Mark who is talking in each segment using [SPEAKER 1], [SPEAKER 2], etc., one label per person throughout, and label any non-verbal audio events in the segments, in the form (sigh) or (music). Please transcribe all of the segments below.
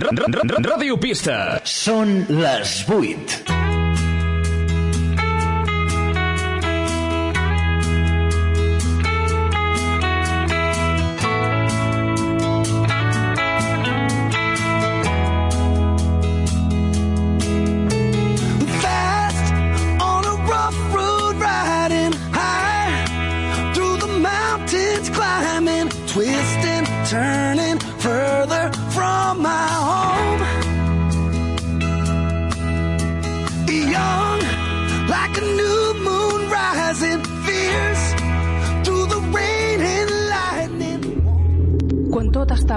[SPEAKER 1] Ràdio Pista.
[SPEAKER 2] Són les 8.
[SPEAKER 3] fast on a rough road, riding high through the mountains, climbing, twisting, turning further from my home. Young, like a new moon rising, fierce through the rain and lightning.
[SPEAKER 4] Quan tot està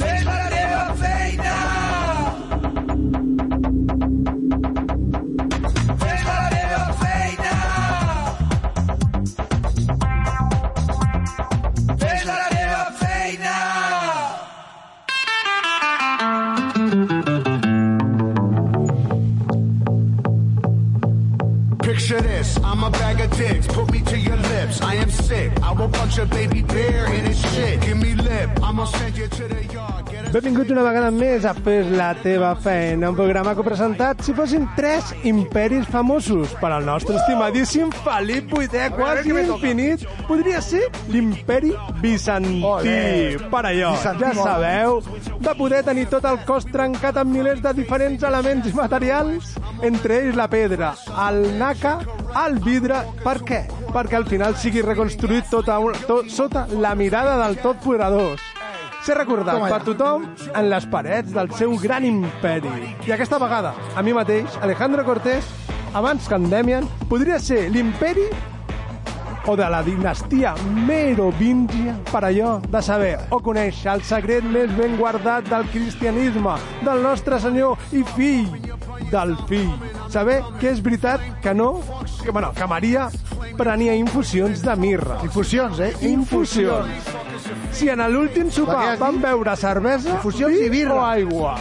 [SPEAKER 3] Fes la teva feina! Fes la teva feina! Fes la teva feina!
[SPEAKER 5] Picture this, I'm a bag of dicks, put me to your lips. I am sick, I will punch a baby bear in his shit. Give me lip, I'ma send you to the yard. Get a
[SPEAKER 6] Benvinguts una vegada més a Fes la teva feina, un programa que he presentat si fossin tres imperis famosos per al nostre estimadíssim Felip VIII, quasi infinit. Podria ser l'imperi bizantí, per allò, ja sabeu, de poder tenir tot el cos trencat amb milers de diferents elements i materials, entre ells la pedra, el naca, el vidre, per què? Perquè al final sigui reconstruït tota una, tot, sota la mirada del tot poderós ser recordat per tothom en les parets del seu gran imperi. I aquesta vegada, a mi mateix, Alejandro Cortés, abans que en Demian, podria ser l'imperi o de la dinastia merovingia per allò de saber o conèixer el secret més ben guardat del cristianisme, del nostre senyor i fill, del fill. Saber que és veritat que no, que, bueno, que Maria prenia infusions de mirra.
[SPEAKER 7] Infusions, eh?
[SPEAKER 6] Infusions. Si en l'últim
[SPEAKER 7] Perquè
[SPEAKER 6] sopar
[SPEAKER 7] aquí-
[SPEAKER 6] van beure cervesa,
[SPEAKER 7] Infusions
[SPEAKER 6] vi
[SPEAKER 7] i birra.
[SPEAKER 6] o aigua.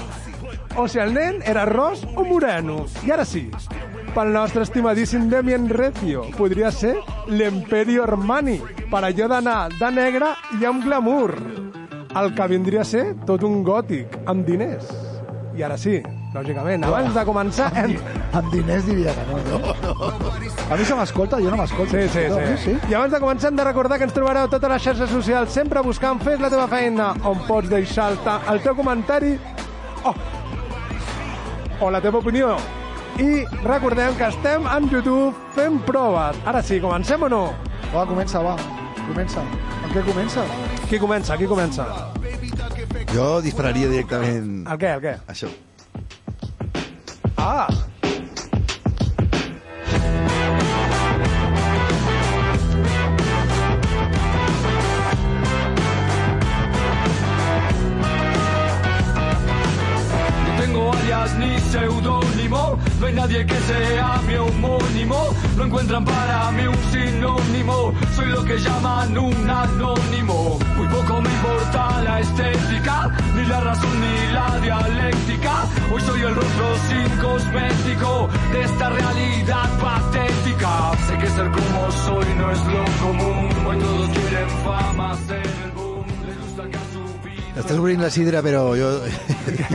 [SPEAKER 6] O si el nen era ros o moreno. I ara sí, pel nostre estimadíssim Demian Recio, podria ser l'Emperio Armani, per allò d'anar de negre i amb glamour. El que vindria a ser tot un gòtic, amb diners. I ara sí, lògicament, abans de començar... Hem...
[SPEAKER 7] Amb diners diria que no. no, no. A mi se m'escolta, jo no m'escolto.
[SPEAKER 6] Sí, sí,
[SPEAKER 7] No,
[SPEAKER 6] sí.
[SPEAKER 7] sí.
[SPEAKER 6] I abans de començar hem de recordar que ens trobareu a totes les xarxes socials sempre buscant Fes la teva feina, on pots deixar el, ta- el teu comentari o, o la teva opinió. I recordem que estem en YouTube fent proves. Ara sí, comencem o no?
[SPEAKER 7] Va, comença, va. Comença. Amb què comença?
[SPEAKER 6] Qui comença? Qui comença?
[SPEAKER 8] Jo dispararia directament
[SPEAKER 6] El què? El què?
[SPEAKER 8] això.
[SPEAKER 6] Ah!
[SPEAKER 3] No tengo alias ni seudónimo, no hay nadie que sea mi homónimo, no encuentran para mí un sinónimo, soy lo que llaman un anónimo. Muy poco me importa la estética, ni la razón ni la dialéctica, hoy soy el rostro sin cosmético de esta realidad patética. Sé que ser como soy no es lo común, hoy todos quieren fama, ser el boom, les gusta que a su vida...
[SPEAKER 8] Estàs obrint la sidra, però jo...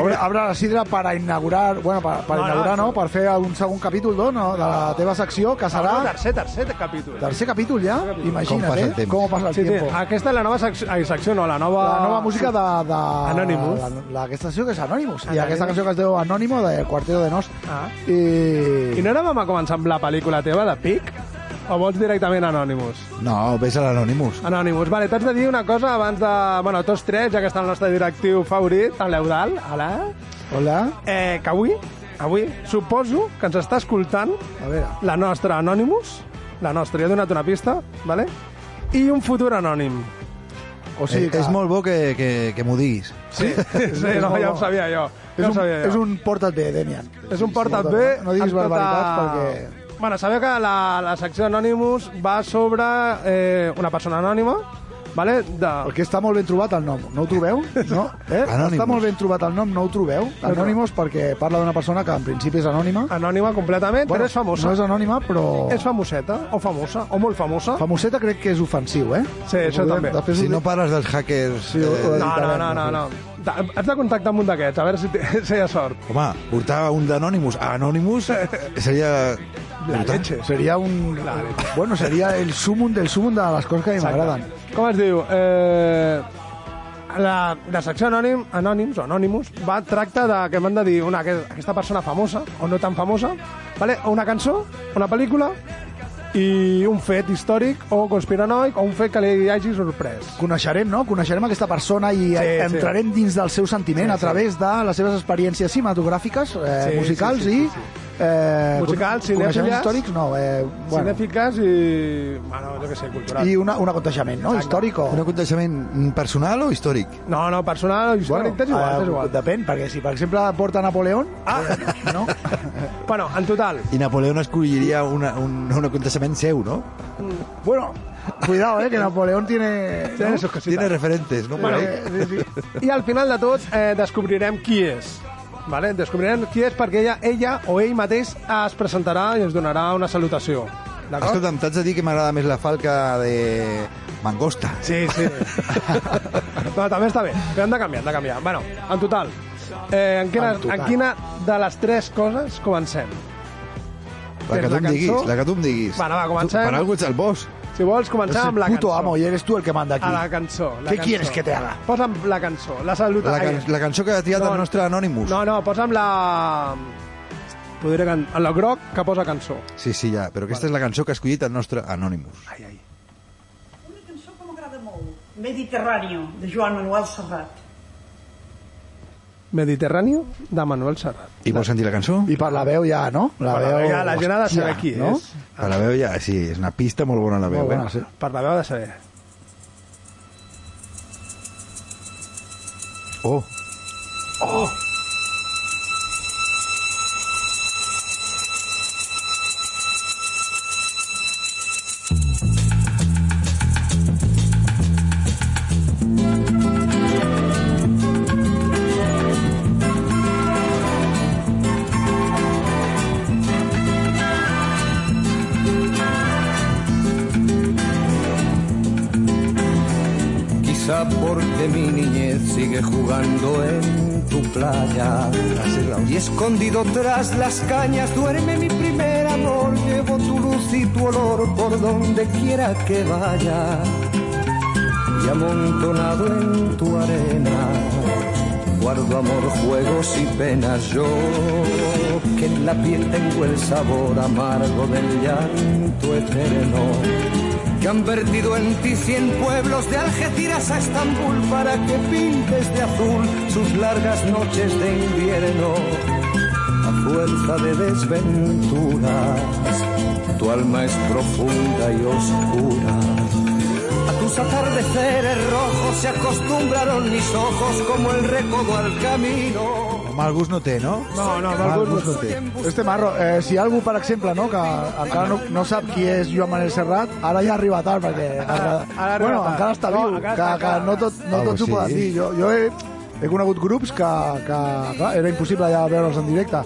[SPEAKER 7] Obre, obre la sidra per a inaugurar... Bueno, per, per
[SPEAKER 6] No, no,
[SPEAKER 7] inaugurar, no,
[SPEAKER 6] això-
[SPEAKER 7] Per fer un segon capítol, no? no? De la teva secció, que serà...
[SPEAKER 6] No, tercer, tercer capítol.
[SPEAKER 7] Ah. Tercer capítol ja? Imagina't,
[SPEAKER 8] passa el
[SPEAKER 7] eh?
[SPEAKER 8] temps.
[SPEAKER 7] Com passa el
[SPEAKER 6] Sí, sí,
[SPEAKER 7] tiempo.
[SPEAKER 6] aquesta és la nova secció, ai, secció no, la nova...
[SPEAKER 7] La nova música de... de
[SPEAKER 6] Anonymous.
[SPEAKER 7] La, la, aquesta canció que és Anonymous. I
[SPEAKER 6] Anonymous.
[SPEAKER 7] aquesta canció que es diu Anónimo, de Quarteto de Nos.
[SPEAKER 6] Ah.
[SPEAKER 7] I...
[SPEAKER 6] I no ara vam a començar amb la pel·lícula teva, de Pic? O vols directament Anonymous?
[SPEAKER 8] (laughs) No, ves a l'Anonymous.
[SPEAKER 6] Anonymous. Vale, t'haig de dir una cosa abans de... Bueno, tots tres, ja que està el nostre directiu favorit, en l'Eudal, hola.
[SPEAKER 7] Hola.
[SPEAKER 6] Eh, que avui, avui, suposo que ens està escoltant
[SPEAKER 7] A veure.
[SPEAKER 6] la nostra Anonymous, la nostra, jo he donat una pista, vale? i un futur anònim.
[SPEAKER 7] O sigui que...
[SPEAKER 8] Eh, És molt bo que, que, que m'ho diguis.
[SPEAKER 6] Sí?
[SPEAKER 7] (laughs)
[SPEAKER 6] sí
[SPEAKER 7] és
[SPEAKER 6] no,
[SPEAKER 7] molt bo.
[SPEAKER 6] ja ho sabia jo.
[SPEAKER 7] És
[SPEAKER 6] Ja ho
[SPEAKER 7] un,
[SPEAKER 6] sabia jo.
[SPEAKER 7] és un porta't bé, Demian.
[SPEAKER 6] És un porta't
[SPEAKER 7] no,
[SPEAKER 6] bé...
[SPEAKER 7] No diguis
[SPEAKER 6] ens porta-
[SPEAKER 7] barbaritats perquè...
[SPEAKER 6] Bueno, sabeu que la, la secció Anonymous va sobre eh, una persona anònima Vale? De...
[SPEAKER 7] Perquè està molt ben trobat el nom, no ho
[SPEAKER 6] (laughs)
[SPEAKER 7] trobeu? No? Eh?
[SPEAKER 8] Anonymous.
[SPEAKER 7] Està molt ben trobat el nom, no ho trobeu? Anònimos perquè parla d'una persona que en principi és anònima.
[SPEAKER 6] Anònima completament, però és famosa.
[SPEAKER 7] No és anònima, però...
[SPEAKER 6] És famoseta, o famosa, o molt famosa.
[SPEAKER 7] Famoseta crec que és ofensiu, eh?
[SPEAKER 6] Sí,
[SPEAKER 7] Ho
[SPEAKER 6] això
[SPEAKER 7] podem-
[SPEAKER 6] també.
[SPEAKER 7] Després
[SPEAKER 8] Si
[SPEAKER 7] ho-
[SPEAKER 8] no parles dels hackers... eh,
[SPEAKER 7] Sí, ho-
[SPEAKER 6] no, no, no, no, no. Da- Has de contactar amb un d'aquests, a veure si, té- (laughs) si hi ha
[SPEAKER 7] (laughs)
[SPEAKER 6] sort.
[SPEAKER 8] Home, portar un d'Anonymous a Anonymous seria...
[SPEAKER 6] La leche.
[SPEAKER 7] Seria un... Bueno, seria el sumum del sumum de les coses que a mi m'agraden.
[SPEAKER 6] Com es diu? Eh, la, la secció anònim, anònims o anònimus va, tracta de que m'han de dir una, que- aquesta persona famosa o no tan famosa, vale? o una cançó, una pel·lícula i un fet històric o conspiranoic o un fet que li hagi sorprès.
[SPEAKER 7] Coneixerem, no? Coneixerem aquesta persona i
[SPEAKER 6] Sí,
[SPEAKER 7] eh,
[SPEAKER 6] sí.
[SPEAKER 7] entrarem dins del seu sentiment
[SPEAKER 6] Sí,
[SPEAKER 7] a
[SPEAKER 6] sí.
[SPEAKER 7] través de les seves experiències cinematogràfiques, eh,
[SPEAKER 6] Sí,
[SPEAKER 7] musicals
[SPEAKER 6] sí, sí,
[SPEAKER 7] i... Eh,
[SPEAKER 6] Musicals,
[SPEAKER 7] con- coneixements
[SPEAKER 6] cinèfiles.
[SPEAKER 7] històrics, no. Eh,
[SPEAKER 6] Bueno.
[SPEAKER 7] bueno,
[SPEAKER 6] Cinèfiques i... Bueno, jo què sé, cultural.
[SPEAKER 7] I
[SPEAKER 6] I...
[SPEAKER 7] una, un aconteixement, no? Històric o...
[SPEAKER 8] Un aconteixement personal o històric?
[SPEAKER 6] No, no, personal, històric, bueno, és igual,
[SPEAKER 7] eh,
[SPEAKER 6] és igual.
[SPEAKER 7] Depèn, perquè si, per exemple, porta Napoleón... Ah! No? (laughs)
[SPEAKER 6] Bueno, en total,
[SPEAKER 8] I Napoleó escolliria una, un, un aconteixement seu, no?
[SPEAKER 7] bueno, cuidado, eh, que Napoleón tiene...
[SPEAKER 6] Té
[SPEAKER 7] ¿no?
[SPEAKER 6] sus cositas.
[SPEAKER 8] Tiene referentes, no? Bueno,
[SPEAKER 7] Eh, sí, sí.
[SPEAKER 6] I al final de tot eh, descobrirem qui és. Vale? Descobrirem qui és perquè ella, ella o ell mateix es presentarà i ens donarà una salutació. D'acord?
[SPEAKER 8] Escolta'm, t'haig de dir que m'agrada més la falca de mangosta.
[SPEAKER 6] Sí,
[SPEAKER 7] (laughs)
[SPEAKER 6] sí. no, també està bé. Però hem de canviar, hem de canviar. Bueno, en total, eh, en, quina,
[SPEAKER 7] En
[SPEAKER 6] en,
[SPEAKER 7] total.
[SPEAKER 6] en quina de les tres coses comencem?
[SPEAKER 8] La que
[SPEAKER 6] és la
[SPEAKER 8] tu em diguis,
[SPEAKER 6] cançó?
[SPEAKER 8] la que tu em diguis.
[SPEAKER 6] Va, va, comencem.
[SPEAKER 8] Tu, Per algú ets el boss.
[SPEAKER 6] Si vols, començar amb la
[SPEAKER 7] puto
[SPEAKER 6] cançó.
[SPEAKER 7] amo y eres tú el que manda aquí.
[SPEAKER 6] A la cançó. La
[SPEAKER 7] ¿Qué
[SPEAKER 6] cançó.
[SPEAKER 7] quieres que te haga?
[SPEAKER 6] Posa'm la cançó, la saluta.
[SPEAKER 8] La,
[SPEAKER 6] Ai,
[SPEAKER 8] can, la cançó que ha tirat
[SPEAKER 6] No,
[SPEAKER 8] el nostre Anonymous.
[SPEAKER 6] No, no, posa'm la... Podré can... La groc que posa cançó.
[SPEAKER 8] Sí, sí, ja, però aquesta és la cançó que ha escollit el nostre Anonymous.
[SPEAKER 6] Ai, ai.
[SPEAKER 3] Una cançó que m'agrada molt. Mediterráneo, de Joan Manuel Serrat.
[SPEAKER 6] Mediterráneo de Manuel Serrat.
[SPEAKER 8] I vols sentir la cançó?
[SPEAKER 7] Y para la veo ya, ¿no? La
[SPEAKER 6] Per la
[SPEAKER 7] veo...
[SPEAKER 6] veu ja la gent ha de saber
[SPEAKER 7] Hòstia,
[SPEAKER 6] qui
[SPEAKER 7] no?
[SPEAKER 6] és.
[SPEAKER 8] A la veu ja, sí, és una pista molt bona la veu.
[SPEAKER 7] Molt
[SPEAKER 8] eh?
[SPEAKER 7] bona, sí.
[SPEAKER 6] Per la veu ha de saber.
[SPEAKER 8] Oh,
[SPEAKER 5] Quizá porque mi niñez sigue jugando en tu playa. Y escondido tras las cañas duerme mi primer amor. Llevo tu luz y tu olor por donde quiera que vaya. Y amontonado en tu arena, guardo amor, juegos y penas. Yo que en la piel tengo el sabor amargo del llanto eterno que han vertido en ti cien pueblos de Algeciras a Estambul para que pintes de azul sus largas noches de invierno. A fuerza de desventuras, tu alma es profunda y oscura. A tus atardeceres rojos se acostumbraron mis ojos como el recodo al camino.
[SPEAKER 8] mal gust no té, no?
[SPEAKER 6] No, no,
[SPEAKER 8] Mal
[SPEAKER 6] d'algú...
[SPEAKER 8] gust no té.
[SPEAKER 7] Este marro, eh, si algú, per exemple, no, que encara no, no sap qui és Joan Manel Serrat, ara ja arriba tard, perquè...
[SPEAKER 6] Ara- ara
[SPEAKER 7] bueno,
[SPEAKER 6] arriba tard.
[SPEAKER 7] encara està
[SPEAKER 6] No,
[SPEAKER 7] viu,
[SPEAKER 6] encara
[SPEAKER 7] que,
[SPEAKER 6] està
[SPEAKER 7] que
[SPEAKER 6] clar.
[SPEAKER 7] no, tot, no
[SPEAKER 8] Algo
[SPEAKER 7] tots ho
[SPEAKER 8] Ah, sí.
[SPEAKER 7] poden dir. Jo, jo he, he conegut grups que, que clar, era impossible ja veure'ls en directe.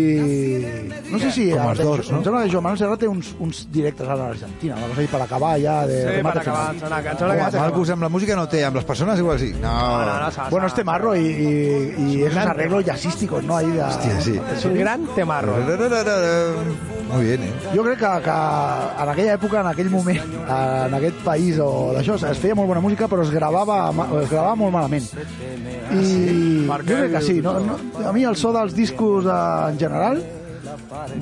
[SPEAKER 7] I no sé si...
[SPEAKER 8] Com els
[SPEAKER 7] eh,
[SPEAKER 8] d'Ors, no?
[SPEAKER 7] Em sembla que Joan Manuel Serrat té uns, uns directes ara a l'Argentina, una cosa així per acabar ja... De,
[SPEAKER 6] Sí,
[SPEAKER 7] de
[SPEAKER 6] per
[SPEAKER 7] mate
[SPEAKER 6] acabar,
[SPEAKER 7] final.
[SPEAKER 6] em sona que- em
[SPEAKER 8] Home,
[SPEAKER 6] sona que...
[SPEAKER 8] Oh, Mal gust amb la música no té, amb les persones igual sí. No,
[SPEAKER 6] No, no, s'ha-
[SPEAKER 7] Bueno,
[SPEAKER 6] s'ha-
[SPEAKER 7] este marro y, y- y esos arreglos jazzísticos, ¿no? Ahí de-
[SPEAKER 8] Hòstia, sí.
[SPEAKER 6] És un gran temarro. eh?
[SPEAKER 8] Muy bien, eh?
[SPEAKER 7] Jo crec que, que en aquella època, en aquell moment, en aquest país o d'això, es feia molt bona música, però es gravava, ma- es gravava molt malament. I jo crec que Ah, sí. No, no, a mi el so dels discos eh, en general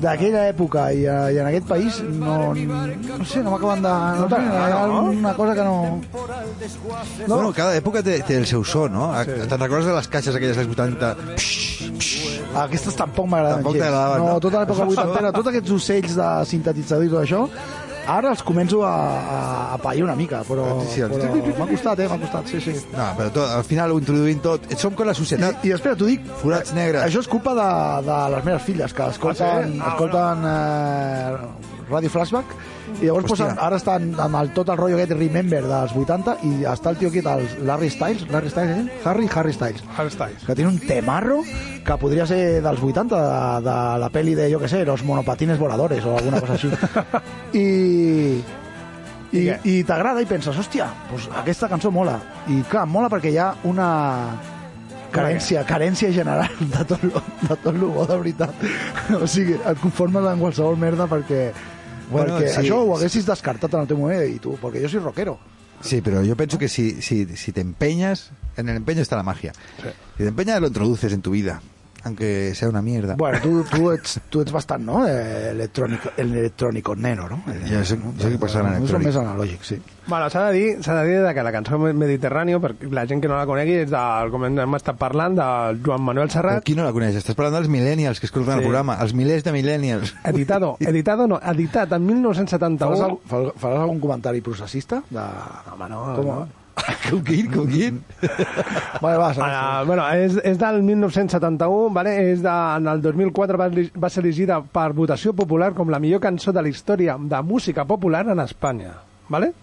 [SPEAKER 7] d'aquella època i, eh, i en aquest país no, no sé, no m'acaben de... No, no, no, una cosa que no...
[SPEAKER 8] No? Bueno, cada època té, té el seu so, no? Sí. Te'n recordes de les caixes aquelles dels 80?
[SPEAKER 7] Ah, Aquestes tampoc m'agraden
[SPEAKER 8] Tampoc
[SPEAKER 7] gens.
[SPEAKER 8] t'agradaven,
[SPEAKER 7] No,
[SPEAKER 8] no?
[SPEAKER 7] tota l'època
[SPEAKER 8] (laughs)
[SPEAKER 7] vuitantera, tots aquests ocells de sintetitzador i tot això, ara els començo a, a, a pair una mica, però,
[SPEAKER 8] Sí, sí, els-
[SPEAKER 7] però m'ha costat, eh, m'ha costat, sí, sí.
[SPEAKER 8] No, però tot, al final ho introduïm tot. Som com la
[SPEAKER 7] I,
[SPEAKER 8] societat.
[SPEAKER 7] i espera, t'ho dic,
[SPEAKER 8] Forats negres.
[SPEAKER 7] això és culpa de, de les meves filles, que escolten,
[SPEAKER 6] Ah, sí? Ah,
[SPEAKER 7] escolten eh, Radio Flashback, i llavors pues,
[SPEAKER 8] Hòstia.
[SPEAKER 7] ara estan amb el, tot el rotllo aquest Remember dels 80 i està el tio aquí, el Larry Styles, Larry Styles, eh? Harry, Harry Styles,
[SPEAKER 6] Harry Styles.
[SPEAKER 7] que tiene un temarro que podria ser dels 80 de, de la peli de, jo que sé, los monopatines voladores o alguna cosa així. I... I,
[SPEAKER 6] I què?
[SPEAKER 7] i t'agrada i penses, hòstia, pues aquesta cançó mola. I clar, mola perquè hi ha una carència, carència general (laughs) de tot, lo, de tot lo bo, de veritat. (laughs) O sigui, et conformes amb qualsevol merda perquè,
[SPEAKER 8] Bueno,
[SPEAKER 7] bueno, perquè
[SPEAKER 8] sí,
[SPEAKER 7] sí, això ho
[SPEAKER 8] sí.
[SPEAKER 7] haguessis descartat en el teu moment i tu, perquè jo soy rockero.
[SPEAKER 8] Sí, pero yo pienso que si, si, si te empeñas, en el empeño está la magia. Si te empeñas, lo introduces en tu vida, aunque sea una mierda.
[SPEAKER 7] Bueno, tu, tu, ets, tu ets bastant, no?, Eh, electrònic, electrònico nero, no? Eh,
[SPEAKER 8] Jo soc- soc persona
[SPEAKER 7] No
[SPEAKER 8] electrònica.
[SPEAKER 7] Som més analògic, sí.
[SPEAKER 6] Bueno, s'ha de dir, s'ha de dir que la cançó Mediterráneo, per la gent que no la conegui, és del, com hem estat parlant, del Joan Manuel
[SPEAKER 8] Però
[SPEAKER 6] Serrat,
[SPEAKER 8] qui no la coneix? Estàs parlant dels millennials que escolten
[SPEAKER 6] Sí.
[SPEAKER 8] el programa, els milers de millennials.
[SPEAKER 6] (laughs) editado, editado no, editat en
[SPEAKER 7] Faràs,
[SPEAKER 6] 1971.
[SPEAKER 7] al, far- faràs algun comentari processista? De... Home, no. Com... no.
[SPEAKER 6] (laughs)
[SPEAKER 8] Com quin, com quin?
[SPEAKER 7] Vale, va, serà-
[SPEAKER 6] Ah, bueno, és, és del 1971, vale? és de, en el 2004 va, elig- va ser elegida per votació popular com la millor cançó de la història de música popular en Espanya. Vale?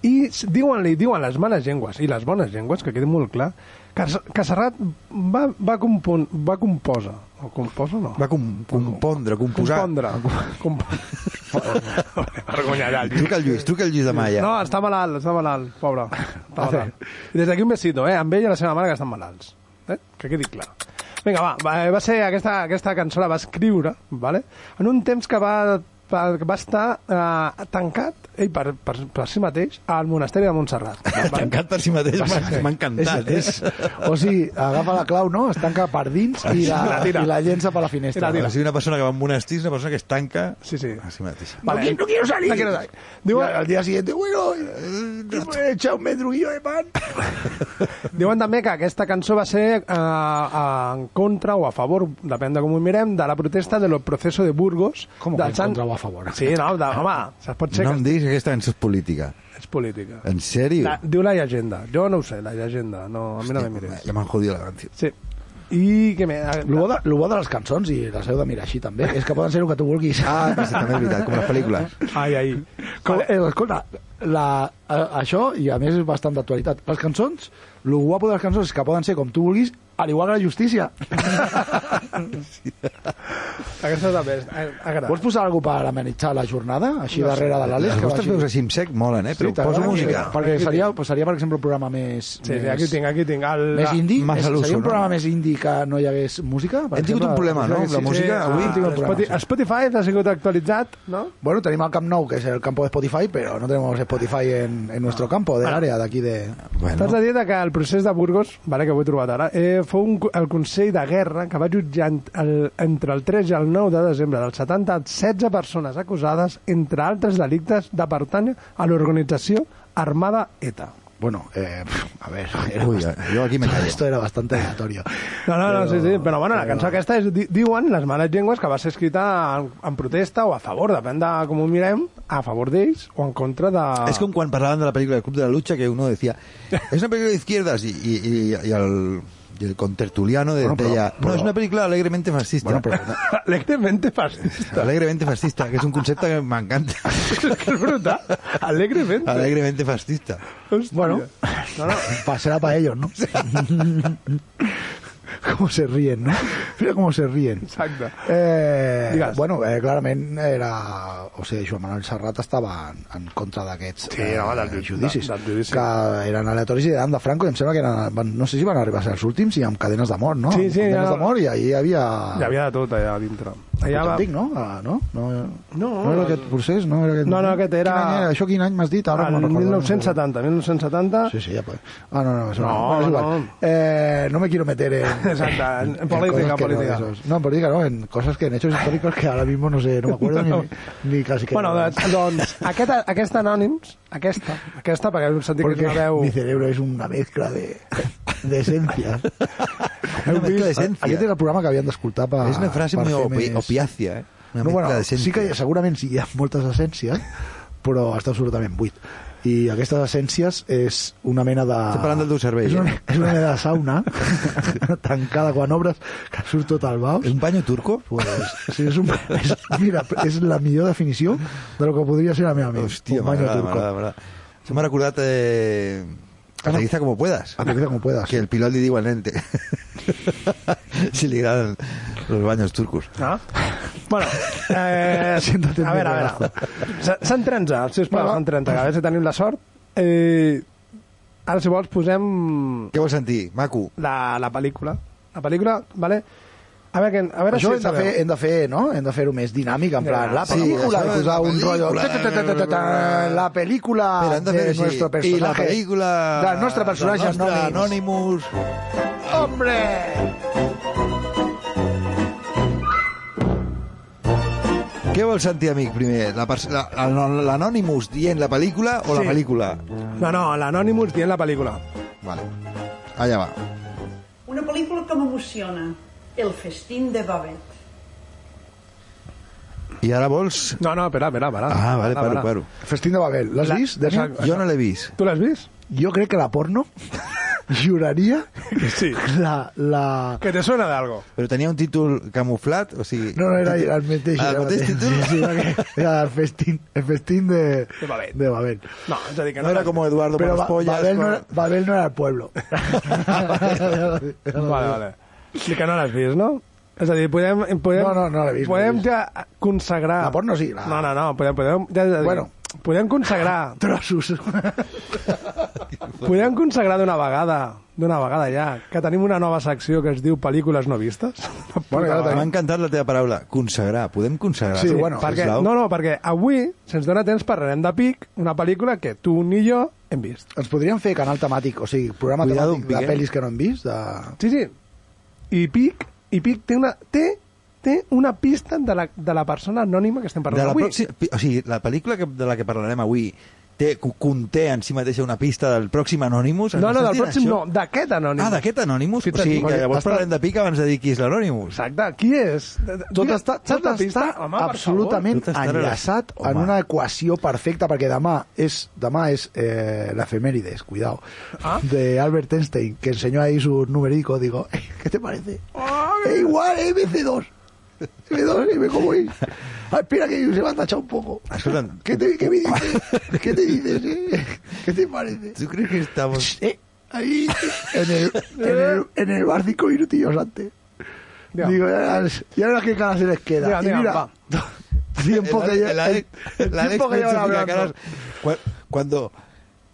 [SPEAKER 6] I s- diuen-li, diuen les males llengües i les bones llengües, que quedi molt clar, que, S- que Serrat va, va, compon, va composa, o composa no?
[SPEAKER 8] Va com, compondre, composar.
[SPEAKER 6] compondre. (laughs) Com... Vergonyarà, tio.
[SPEAKER 8] Truca el Lluís, truca el Lluís de Maia.
[SPEAKER 6] No, està malalt, està malalt, pobre. Està
[SPEAKER 7] Ah,
[SPEAKER 6] malalt. I des d'aquí un besito, eh? Amb ell i la seva mare que estan malalts. Eh? Que quedi clar. Vinga, va, eh, va, va ser aquesta, aquesta cançó la va escriure, vale? en un temps que va, va, va estar eh, tancat ell per, per, per si mateix al monasteri de
[SPEAKER 7] (laughs)
[SPEAKER 6] Montserrat. Vale?
[SPEAKER 8] Tancat per si mateix, m'ha- m'ha encantat.
[SPEAKER 7] és,
[SPEAKER 8] És,
[SPEAKER 7] és,
[SPEAKER 6] eh?
[SPEAKER 7] o sigui, agafa la clau, no? Es tanca per dins i la,
[SPEAKER 6] La
[SPEAKER 7] i
[SPEAKER 6] tira.
[SPEAKER 7] la llença per la finestra.
[SPEAKER 6] I la tira.
[SPEAKER 8] O sigui, eh? una persona que va a un monestir és una persona que es tanca
[SPEAKER 6] Sí, sí.
[SPEAKER 8] a si mateixa.
[SPEAKER 7] Ah,
[SPEAKER 6] Vale.
[SPEAKER 7] No, qui- no quiero salir.
[SPEAKER 6] No quiero salir. Diu,
[SPEAKER 7] Digo, al día siguiente, bueno, eh, me he echado un medruguillo de pan.
[SPEAKER 6] Diuen també que aquesta cançó va ser eh, en contra o a favor, depèn de com ho mirem, de la protesta de los procesos de Burgos.
[SPEAKER 7] Com que
[SPEAKER 6] del
[SPEAKER 7] en contra o a favor?
[SPEAKER 6] Sí, no, de, home, se pot ser
[SPEAKER 8] No em
[SPEAKER 6] que
[SPEAKER 8] diguis que aquesta cançó és política.
[SPEAKER 6] és política.
[SPEAKER 8] En sèrio?
[SPEAKER 6] La, diu la llegenda. Jo no ho sé, la llegenda. No, a mi no me mires.
[SPEAKER 8] Ja m'han jodido la canció.
[SPEAKER 6] Sí. I què ah, més?
[SPEAKER 7] Lo bo, de, lo bo de les cançons, i les heu de mirar així també, és que poden ser el que tu vulguis.
[SPEAKER 8] Ah, sí, també és veritat, com les pel·lícules.
[SPEAKER 6] Ai, ai.
[SPEAKER 7] Com, eh, escolta, la, eh, això, i a més és bastant d'actualitat, les cançons, el guapo de les cançons és que poden ser com tu vulguis, al igual que la justícia.
[SPEAKER 6] Aquesta és la best. eh, (laughs) Agrada.
[SPEAKER 7] Vols posar alguna per amenitzar la jornada, així darrere de l'Àlex?
[SPEAKER 8] Les
[SPEAKER 7] que
[SPEAKER 8] vostres
[SPEAKER 7] vagi-
[SPEAKER 8] veus així en sec molen, eh? Però
[SPEAKER 7] Sí, t'agrada?
[SPEAKER 8] poso música.
[SPEAKER 7] Sí, Perquè seria, pues, seria, per exemple, un programa més...
[SPEAKER 6] Sí,
[SPEAKER 7] més...
[SPEAKER 6] sí, aquí tinc, aquí tinc. El,
[SPEAKER 7] Més indie?
[SPEAKER 8] Más
[SPEAKER 7] Més
[SPEAKER 8] al uso,
[SPEAKER 7] seria un
[SPEAKER 8] no?
[SPEAKER 7] programa més indie que no hi hagués música? Per
[SPEAKER 8] Hem tingut un problema, no? Amb la
[SPEAKER 7] Sí,
[SPEAKER 8] música,
[SPEAKER 7] sí,
[SPEAKER 8] avui
[SPEAKER 7] avui
[SPEAKER 6] ah,
[SPEAKER 7] hem tingut un
[SPEAKER 6] Spotify,
[SPEAKER 7] problema. sí.
[SPEAKER 6] Spotify ha sigut actualitzat, no?
[SPEAKER 7] Bueno, tenim el Camp Nou, que és el campo de Spotify, però no tenemos Spotify en, en nuestro campo, de l'àrea d'aquí de...
[SPEAKER 8] Bueno,
[SPEAKER 6] T'has de dir que el procés de Burgos, vale, que ho he trobat ara, eh, fou un, co- el Consell de Guerra que va jutjar ent- el, entre el 3 i el 9 de desembre del 70 16 persones acusades, entre altres delictes, de pertànyer a l'organització armada E ETA.
[SPEAKER 7] Bueno, eh, pf, a ver...
[SPEAKER 8] Ui, jo aquí me callo.
[SPEAKER 7] Esto era bastante
[SPEAKER 8] (laughs)
[SPEAKER 7] aleatorio.
[SPEAKER 6] No, no, no,
[SPEAKER 7] Però-
[SPEAKER 6] sí, sí, però bueno, la
[SPEAKER 7] però-
[SPEAKER 6] cançó aquesta és, di, diuen les males llengües que va ser escrita en, en protesta o a favor, depèn de com ho mirem, a favor d'ells o en contra de...
[SPEAKER 8] Es como cuando hablaban de la película del Club de la Lucha, que uno
[SPEAKER 7] (laughs)
[SPEAKER 8] decía, es una película de izquierdas, y, y, y- y al- y el contertuliano de,
[SPEAKER 7] Bueno, pero-
[SPEAKER 8] decía, no,
[SPEAKER 7] pero-
[SPEAKER 8] es una película alegremente fascista.
[SPEAKER 7] Bueno, però...
[SPEAKER 6] Alegremente
[SPEAKER 8] (laughs)
[SPEAKER 6] fascista. (laughs)
[SPEAKER 8] Alegremente fascista, que es un concepto que me
[SPEAKER 7] (laughs)
[SPEAKER 8] encanta.
[SPEAKER 6] És que és brutal. Alegremente.
[SPEAKER 8] alegremente fascista.
[SPEAKER 6] Hòstia.
[SPEAKER 7] Bueno.
[SPEAKER 6] No, no,
[SPEAKER 7] (laughs) Pa- Será para ellos, ¿no? (laughs) cómo se ríen, ¿no? Mira cómo se ríen.
[SPEAKER 6] exacte.
[SPEAKER 7] Eh,
[SPEAKER 6] Digues.
[SPEAKER 7] bueno, eh, clarament era... O sigui, Joan Manuel Serrat estava en, en contra d'aquests eh,
[SPEAKER 6] Sí, home, del ju-
[SPEAKER 7] judicis,
[SPEAKER 6] del- del judici.
[SPEAKER 7] que eren aleatoris i eren de Franco, i em sembla que eren, van, no sé si van arribar a ser els últims, i amb cadenes de mort, no?
[SPEAKER 6] Sí, sí,
[SPEAKER 7] amb cadenes
[SPEAKER 6] ja-
[SPEAKER 7] de mort, i ahir hi havia...
[SPEAKER 6] Hi havia de tot allà dintre. Allà va...
[SPEAKER 7] Antic, no? Ah, no? No,
[SPEAKER 6] No,
[SPEAKER 7] no era
[SPEAKER 6] el-
[SPEAKER 7] aquest procés? No, era aquest,
[SPEAKER 6] No, no, aquest era-
[SPEAKER 7] Quin any era? Això quin any m'has dit? Ara
[SPEAKER 6] El
[SPEAKER 7] no recordo.
[SPEAKER 6] 1970, 1970...
[SPEAKER 7] Sí, sí, ya pues. Ah, no, no, eso
[SPEAKER 6] No,
[SPEAKER 7] no. Bueno, es igual.
[SPEAKER 6] no.
[SPEAKER 7] Eh, no me quiero meter en.
[SPEAKER 6] Exacto, en- en política,
[SPEAKER 7] cosas que
[SPEAKER 6] política.
[SPEAKER 7] No, de esos. No, en política no, en cosas que en hechos históricos que ahora mismo no sé, no me acuerdo
[SPEAKER 6] No.
[SPEAKER 7] ni, ni casi que.
[SPEAKER 6] Bueno, eh,
[SPEAKER 7] no.
[SPEAKER 6] doncs,
[SPEAKER 7] (laughs)
[SPEAKER 6] doncs aquest, aquest anònims, aquesta, aquesta, perquè hem sentit que és
[SPEAKER 7] Porque
[SPEAKER 6] una veu...
[SPEAKER 7] mi cerebro es una mezcla de, de esencias.
[SPEAKER 8] Una mezcla de
[SPEAKER 7] esencias. Aquest
[SPEAKER 8] esencia.
[SPEAKER 7] era el programa que havien d'escoltar per...
[SPEAKER 8] Es una frase
[SPEAKER 7] per
[SPEAKER 8] muy
[SPEAKER 7] fer
[SPEAKER 8] opi-
[SPEAKER 7] més-
[SPEAKER 8] opiácea, ¿eh? Una
[SPEAKER 7] No,
[SPEAKER 8] mezcla
[SPEAKER 7] bueno,
[SPEAKER 8] de
[SPEAKER 7] sí
[SPEAKER 8] esencia.
[SPEAKER 7] que segurament sí, hi ha moltes essències, però està absolutament buit. i aquestes essències és una mena de...
[SPEAKER 8] Estem parlant del teu cervell,
[SPEAKER 7] És una,
[SPEAKER 8] eh?
[SPEAKER 7] és una mena de sauna (laughs) tancada quan obres que surt tot al baus.
[SPEAKER 8] ¿Es un baño turco?
[SPEAKER 7] Pues, sí, és un, és, mira, és la millor definició de lo que podria ser la meva ment.
[SPEAKER 8] Hostia,
[SPEAKER 7] un baño
[SPEAKER 8] m'agrada,
[SPEAKER 7] turco.
[SPEAKER 8] m'agrada, m'agrada. Se me ha recordat... Eh...
[SPEAKER 7] Ah, no.
[SPEAKER 8] Aterriza como puedas.
[SPEAKER 7] Aterriza como puedas.
[SPEAKER 8] Que el pilot li diu al nente. (laughs) si li agraden los baños turcos.
[SPEAKER 6] Ah? Bueno,
[SPEAKER 7] (laughs)
[SPEAKER 6] eh,
[SPEAKER 7] Siéntate
[SPEAKER 6] a
[SPEAKER 7] en mi
[SPEAKER 6] veure, a
[SPEAKER 7] regazo.
[SPEAKER 6] veure. Se- Sant 30, sisplau,
[SPEAKER 7] Va, va.
[SPEAKER 6] Sant 30, que a veure si tenim la sort. Eh, ara, si vols, posem
[SPEAKER 8] Què vols sentir, maco?
[SPEAKER 6] la, la pel·lícula. La pel·lícula, vale? A veure, que, a veure
[SPEAKER 7] Això
[SPEAKER 6] si
[SPEAKER 7] hem de,
[SPEAKER 6] sabeu.
[SPEAKER 7] fer, hem de fer, no? Hem de fer-ho més dinàmic, en plan, la
[SPEAKER 8] Sí, això
[SPEAKER 7] pel·lícula, i posar
[SPEAKER 8] és
[SPEAKER 7] un
[SPEAKER 8] la
[SPEAKER 7] rotllo...
[SPEAKER 8] pel·lícula.
[SPEAKER 7] ta-ta-ta-ta-ta-ta, La pel·lícula
[SPEAKER 8] Espera, hem de fer
[SPEAKER 7] Ah, de
[SPEAKER 8] així.
[SPEAKER 7] nuestro personaje.
[SPEAKER 8] I la pel·lícula...
[SPEAKER 7] Del nostre personatge
[SPEAKER 8] del nostre
[SPEAKER 7] anònim.
[SPEAKER 8] Anonymous.
[SPEAKER 7] Hombre!
[SPEAKER 8] Què vols sentir, amic, primer? La pers- la- la- L'Anonymous dient la pel·lícula o la
[SPEAKER 6] Sí.
[SPEAKER 8] pel·lícula?
[SPEAKER 6] No, no, l'Anonymous dient la pel·lícula.
[SPEAKER 8] Vale. Allà va.
[SPEAKER 9] Una pel·lícula que m'emociona. El festín de Babette.
[SPEAKER 8] I ara vols...
[SPEAKER 6] No, no, espera, espera, espera.
[SPEAKER 8] Ah, vale,
[SPEAKER 6] Espera,
[SPEAKER 8] paro,
[SPEAKER 6] espera.
[SPEAKER 8] paro.
[SPEAKER 7] Festín de Babel, l'has
[SPEAKER 6] La-
[SPEAKER 7] vist, Daniel?
[SPEAKER 6] Exacte.
[SPEAKER 8] Jo no l'he vist.
[SPEAKER 6] Tu l'has vist?
[SPEAKER 7] Jo crec que la porno juraria
[SPEAKER 6] Sí.
[SPEAKER 7] la... la...
[SPEAKER 6] Que te suena d'algo.
[SPEAKER 8] Però tenia un títol camuflat, o sigui...
[SPEAKER 7] No, no, era el mateix.
[SPEAKER 8] Ah,
[SPEAKER 7] era
[SPEAKER 8] el mateix títol?
[SPEAKER 7] Sí, sí, era, que- era el festín, el festín de,
[SPEAKER 6] De Babel.
[SPEAKER 7] De Babel.
[SPEAKER 6] No, és a dir, que
[SPEAKER 8] No era com Eduardo
[SPEAKER 7] Pero
[SPEAKER 8] Manos
[SPEAKER 7] Ba-
[SPEAKER 8] Pollas.
[SPEAKER 7] Babel, no
[SPEAKER 8] con-
[SPEAKER 7] era, Babel no era el pueblo.
[SPEAKER 6] Vale, vale. Sí que no l'has vist, no? És a dir, podem... podem
[SPEAKER 7] No, no, no l'he vist, no l'he
[SPEAKER 6] Podem
[SPEAKER 7] vist.
[SPEAKER 6] ja consagrar...
[SPEAKER 7] La porno sí, la-
[SPEAKER 6] No, no, no, podem... podem ja, ja,
[SPEAKER 7] Bueno.
[SPEAKER 6] Podem
[SPEAKER 7] (laughs)
[SPEAKER 6] consagrar...
[SPEAKER 7] Trossos.
[SPEAKER 6] podem consagrar d'una vegada, d'una vegada ja, que tenim una nova secció que es diu Pel·lícules no vistes. (laughs)
[SPEAKER 7] Bueno, ja la
[SPEAKER 8] M'ha
[SPEAKER 7] tenim.
[SPEAKER 8] encantat la teva paraula, consagrar. Podem consagrar?
[SPEAKER 7] Sí, bueno,
[SPEAKER 6] perquè,
[SPEAKER 8] sisplau?
[SPEAKER 6] no, no, perquè avui, se'ns dona temps, parlarem de Pic, una pel·lícula que tu ni jo hem vist.
[SPEAKER 7] Ens podríem fer canal temàtic, o sigui, programa
[SPEAKER 8] Cuidado,
[SPEAKER 7] temàtic
[SPEAKER 8] Piqué.
[SPEAKER 7] de pel·lis que no hem vist. De...
[SPEAKER 6] Sí, sí. I Pic, i Pic té una, té, té una pista de la, de la persona anònima que estem
[SPEAKER 8] de
[SPEAKER 6] parlant
[SPEAKER 8] la
[SPEAKER 6] avui.
[SPEAKER 8] pròxima, pi- o sigui, la pel·lícula que, de la que parlarem avui té, co- conté en si mateixa una pista del pròxim Anonymous?
[SPEAKER 6] No, no, del
[SPEAKER 8] Sentim
[SPEAKER 6] pròxim
[SPEAKER 8] això?
[SPEAKER 6] no, d'aquest anònim.
[SPEAKER 8] Ah, d'aquest Anonymous?
[SPEAKER 6] Sí,
[SPEAKER 8] o sigui,
[SPEAKER 6] perquè
[SPEAKER 8] que llavors
[SPEAKER 6] està-
[SPEAKER 8] parlarem de pic abans de dir qui és l'Anonymous.
[SPEAKER 6] Exacte, qui és?
[SPEAKER 7] Tot
[SPEAKER 6] Digues,
[SPEAKER 7] està,
[SPEAKER 6] saps
[SPEAKER 7] tot
[SPEAKER 6] la pista?
[SPEAKER 7] està
[SPEAKER 6] Home, per
[SPEAKER 7] absolutament
[SPEAKER 8] Tot està
[SPEAKER 7] enllaçat
[SPEAKER 8] relacionat.
[SPEAKER 7] en
[SPEAKER 8] Home.
[SPEAKER 7] una equació perfecta, perquè demà és, demà és eh, l'efemèrides, cuidao,
[SPEAKER 6] Ah.
[SPEAKER 7] de Albert Einstein, que ensenyó ahí su numerico, digo, "Eh, ¿qué te parece?
[SPEAKER 6] Oh,
[SPEAKER 7] Es igual, es BC2. BC2, ve cómo es. Ah, espera que se va a tachar un poco.
[SPEAKER 8] Escolta'm.
[SPEAKER 7] ¿Qué te, qué me dices? ¿Qué te dices, eh? ¿Qué te parece?
[SPEAKER 8] Tu creus que estamos...
[SPEAKER 7] Eh, ahí, en el, en el, en el bar cinco minutillos antes.
[SPEAKER 6] favor.
[SPEAKER 7] Digo, ya, verás- ya verás qué cara se les queda.
[SPEAKER 6] Diga,
[SPEAKER 7] y
[SPEAKER 6] diga,
[SPEAKER 7] mira,
[SPEAKER 6] va.
[SPEAKER 7] (laughs) tiempo que
[SPEAKER 8] El-
[SPEAKER 7] ya.
[SPEAKER 8] el
[SPEAKER 6] (laughs)
[SPEAKER 8] Alex-
[SPEAKER 7] el
[SPEAKER 8] el Alex
[SPEAKER 7] tiempo que
[SPEAKER 8] Pritchard
[SPEAKER 7] llevan
[SPEAKER 8] mira caras.
[SPEAKER 7] hablando.
[SPEAKER 8] Cu- Cuando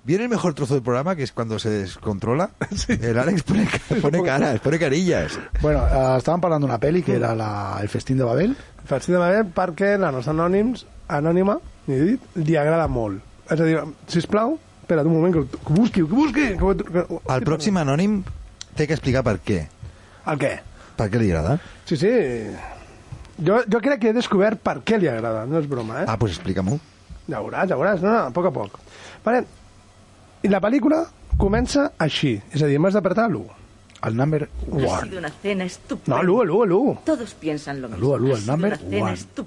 [SPEAKER 8] viene el mejor trozo del programa, que es cuando se
[SPEAKER 6] (laughs)
[SPEAKER 8] descontrola, el Alex pone, ca- pone caras, pone carillas.
[SPEAKER 7] Bueno, eh, estaban parando una peli que era la, El Festín de Babel.
[SPEAKER 6] Faig de Babel perquè la nostra anònims, anònima, ni dit, li agrada molt. És a dir, sisplau, espera un moment, que, ho- que ho busqui, que ho busqui. Que, ho- que, ho-
[SPEAKER 8] El pròxim anònim té que explicar per què.
[SPEAKER 6] El què?
[SPEAKER 8] Per què li agrada?
[SPEAKER 6] Sí, sí. Jo, jo crec que he descobert per què li agrada, no és broma, eh?
[SPEAKER 8] Ah, doncs explica-m'ho.
[SPEAKER 6] Ja veuràs, ja veuràs, no, no, a poc a poc. Vale. I la pel·lícula comença així, és a dir, m'has d'apretar l'1.
[SPEAKER 7] Al number
[SPEAKER 3] Ha
[SPEAKER 7] one.
[SPEAKER 3] sido una cena estupenda.
[SPEAKER 6] No, l'1, l'1, l'1.
[SPEAKER 3] Todos piensan lo mismo.
[SPEAKER 7] Alú, alú,
[SPEAKER 3] Ha
[SPEAKER 7] el
[SPEAKER 3] sido
[SPEAKER 7] number
[SPEAKER 3] una cena
[SPEAKER 7] one.
[SPEAKER 3] estu-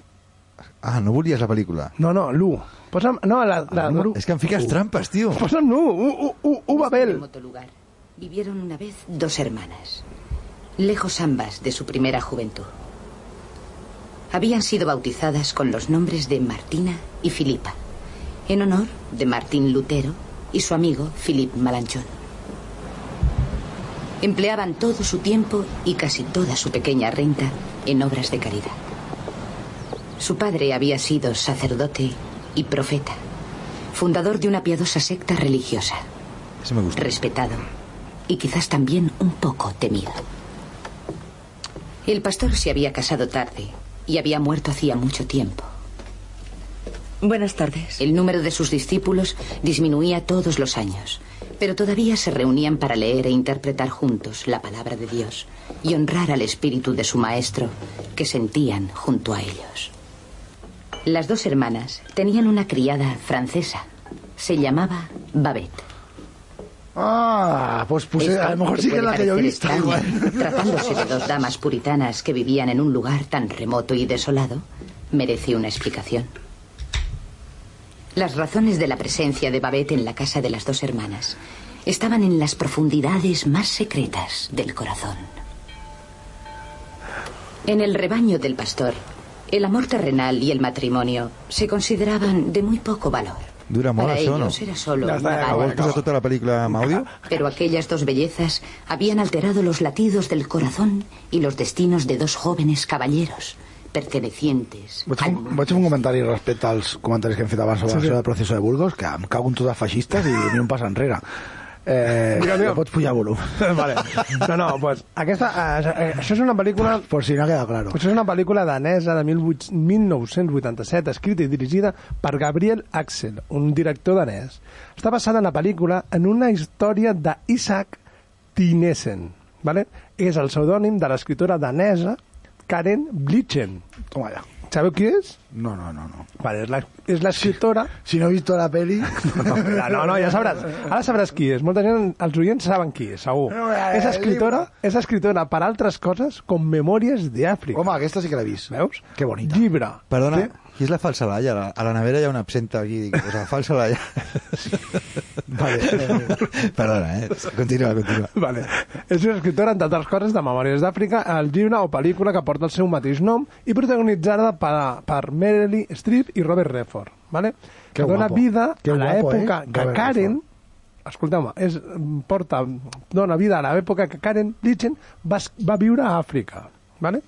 [SPEAKER 8] Ah, no volies la pel·lícula.
[SPEAKER 6] No, no, l'1. Posa'm, no, la, la, la,
[SPEAKER 8] Ah, És que em fiques trampes, tio.
[SPEAKER 6] Posa'm l'1, u, u, u, u,
[SPEAKER 3] En
[SPEAKER 6] Babel.
[SPEAKER 3] remoto lugar vivieron una vez dos hermanas, lejos ambas de su primera juventud. Habían sido bautizadas con los nombres de Martina y Filipa, en honor de Martín Lutero y su amigo Philip Malanchón. Empleaban todo su tiempo y casi toda su pequeña renta en obras de caridad. Su padre había sido sacerdote y profeta, fundador de una piadosa secta religiosa
[SPEAKER 8] Eso me gusta.
[SPEAKER 3] respetado y quizás también un poco temido. El pastor se había casado tarde y había muerto hacía mucho tiempo.
[SPEAKER 10] Buenas tardes.
[SPEAKER 3] El número de sus discípulos disminuía todos los años, pero todavía se reunían para leer e interpretar juntos la palabra de Dios y honrar al espíritu de su maestro que sentían junto a ellos. Las dos hermanas tenían una criada francesa. Se llamaba Babette.
[SPEAKER 7] Ah, pues puse,
[SPEAKER 3] Esto
[SPEAKER 7] a lo mejor
[SPEAKER 3] te
[SPEAKER 7] sí que es
[SPEAKER 3] puede
[SPEAKER 7] la que yo he
[SPEAKER 3] parecer
[SPEAKER 7] visto.
[SPEAKER 3] extraño,
[SPEAKER 7] igual. (laughs)
[SPEAKER 3] Tratándose de dos damas puritanas que vivían en un lugar tan remoto y desolado, merece una explicación. Las razones de la presencia de Babette en la casa de las dos hermanas estaban en las profundidades más secretas del corazón. En el rebaño del pastor, el amor terrenal y el matrimonio se consideraban de muy poco valor.
[SPEAKER 8] Dura molt,
[SPEAKER 3] Para
[SPEAKER 8] això, no?
[SPEAKER 3] ellos era solo una
[SPEAKER 8] Ah, vols
[SPEAKER 3] vaga.
[SPEAKER 8] posar tota la pel·lícula amb àudio?
[SPEAKER 3] Pero aquellas dos bellezas habían alterado los latidos del corazón y los destinos de dos jóvenes caballeros pertenecientes.
[SPEAKER 7] Vaig fer, un, vaig fer un comentari respecte als comentaris que hem fet abans sobre
[SPEAKER 3] Sí,
[SPEAKER 7] sí,
[SPEAKER 3] sí.
[SPEAKER 7] sí. el procés de Burgos, que em cago en tots els feixistes i ni un pas enrere. Eh,
[SPEAKER 6] Mira, mira.
[SPEAKER 7] no pots pujar volum.
[SPEAKER 6] (laughs) vale. No, no, pues, aquesta, eh, eh, això és una pel·lícula...
[SPEAKER 7] Por si no queda claro.
[SPEAKER 6] Això és una pel·lícula danesa de 18- 1987, escrita i dirigida per Gabriel Axel, un director danès. Està basada en la pel·lícula en una història d'Isaac Tinesen, ¿vale? és el pseudònim de l'escriptora danesa Karen Blitzen.
[SPEAKER 7] Toma ja.
[SPEAKER 6] Sabeu qui és?
[SPEAKER 7] No, no, no. no.
[SPEAKER 6] Vale, és la- és l'escriptora...
[SPEAKER 7] Si no he vist la peli...
[SPEAKER 6] (laughs) No, no, no, ja sabràs. Ara sabràs qui és. Molta gent, els oients saben qui és, segur.
[SPEAKER 7] No, eh,
[SPEAKER 6] És escriptora, és escriptora per altres coses com Memòries d'Àfrica.
[SPEAKER 7] Home, aquesta sí que l'he vist.
[SPEAKER 6] Veus?
[SPEAKER 7] Que bonita.
[SPEAKER 6] Llibre.
[SPEAKER 8] Perdona,
[SPEAKER 6] Sí.
[SPEAKER 8] qui és la falsa lalla? A la, a la nevera hi ha una absenta aquí, o sea, falsa lalla. vale. eh, Perdona, eh? Continua, continua.
[SPEAKER 6] (laughs) Vale. És una escriptora, entre altres coses, de Memòries d'Àfrica, el llibre o pel·lícula que porta el seu mateix nom i protagonitzada per, per Meryl Streep i Robert Redford. Vale?
[SPEAKER 7] Que
[SPEAKER 6] que dona
[SPEAKER 7] guapo.
[SPEAKER 6] vida
[SPEAKER 7] Que
[SPEAKER 6] a
[SPEAKER 7] guapo,
[SPEAKER 6] l'època
[SPEAKER 7] eh?
[SPEAKER 6] que
[SPEAKER 7] Robert
[SPEAKER 6] Karen... Escolteu-me, és, porta, dona vida a l'època que Karen Litchen va, es- va viure a Àfrica. Vale?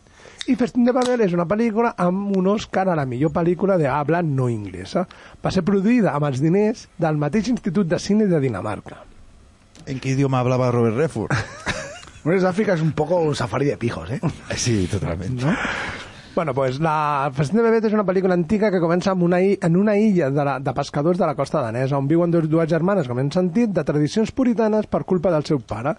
[SPEAKER 6] I Festín de Babel és una pel·lícula amb un Òscar a la millor pel·lícula de habla no inglesa. Va ser produïda amb els diners del mateix Institut de Cine de Dinamarca.
[SPEAKER 8] En qué idioma hablaba Robert Redford?
[SPEAKER 7] Memòries d'Àfrica és un poco un safari de pijos, eh?
[SPEAKER 8] Sí, totalmente.
[SPEAKER 6] Bueno, pues la Festín de Bebet és una pel·lícula antiga que comença amb una i- en una illa de, la, de pescadors de la costa danesa, on viuen dues, dues germanes, com hem sentit, de tradicions puritanes per culpa del seu pare,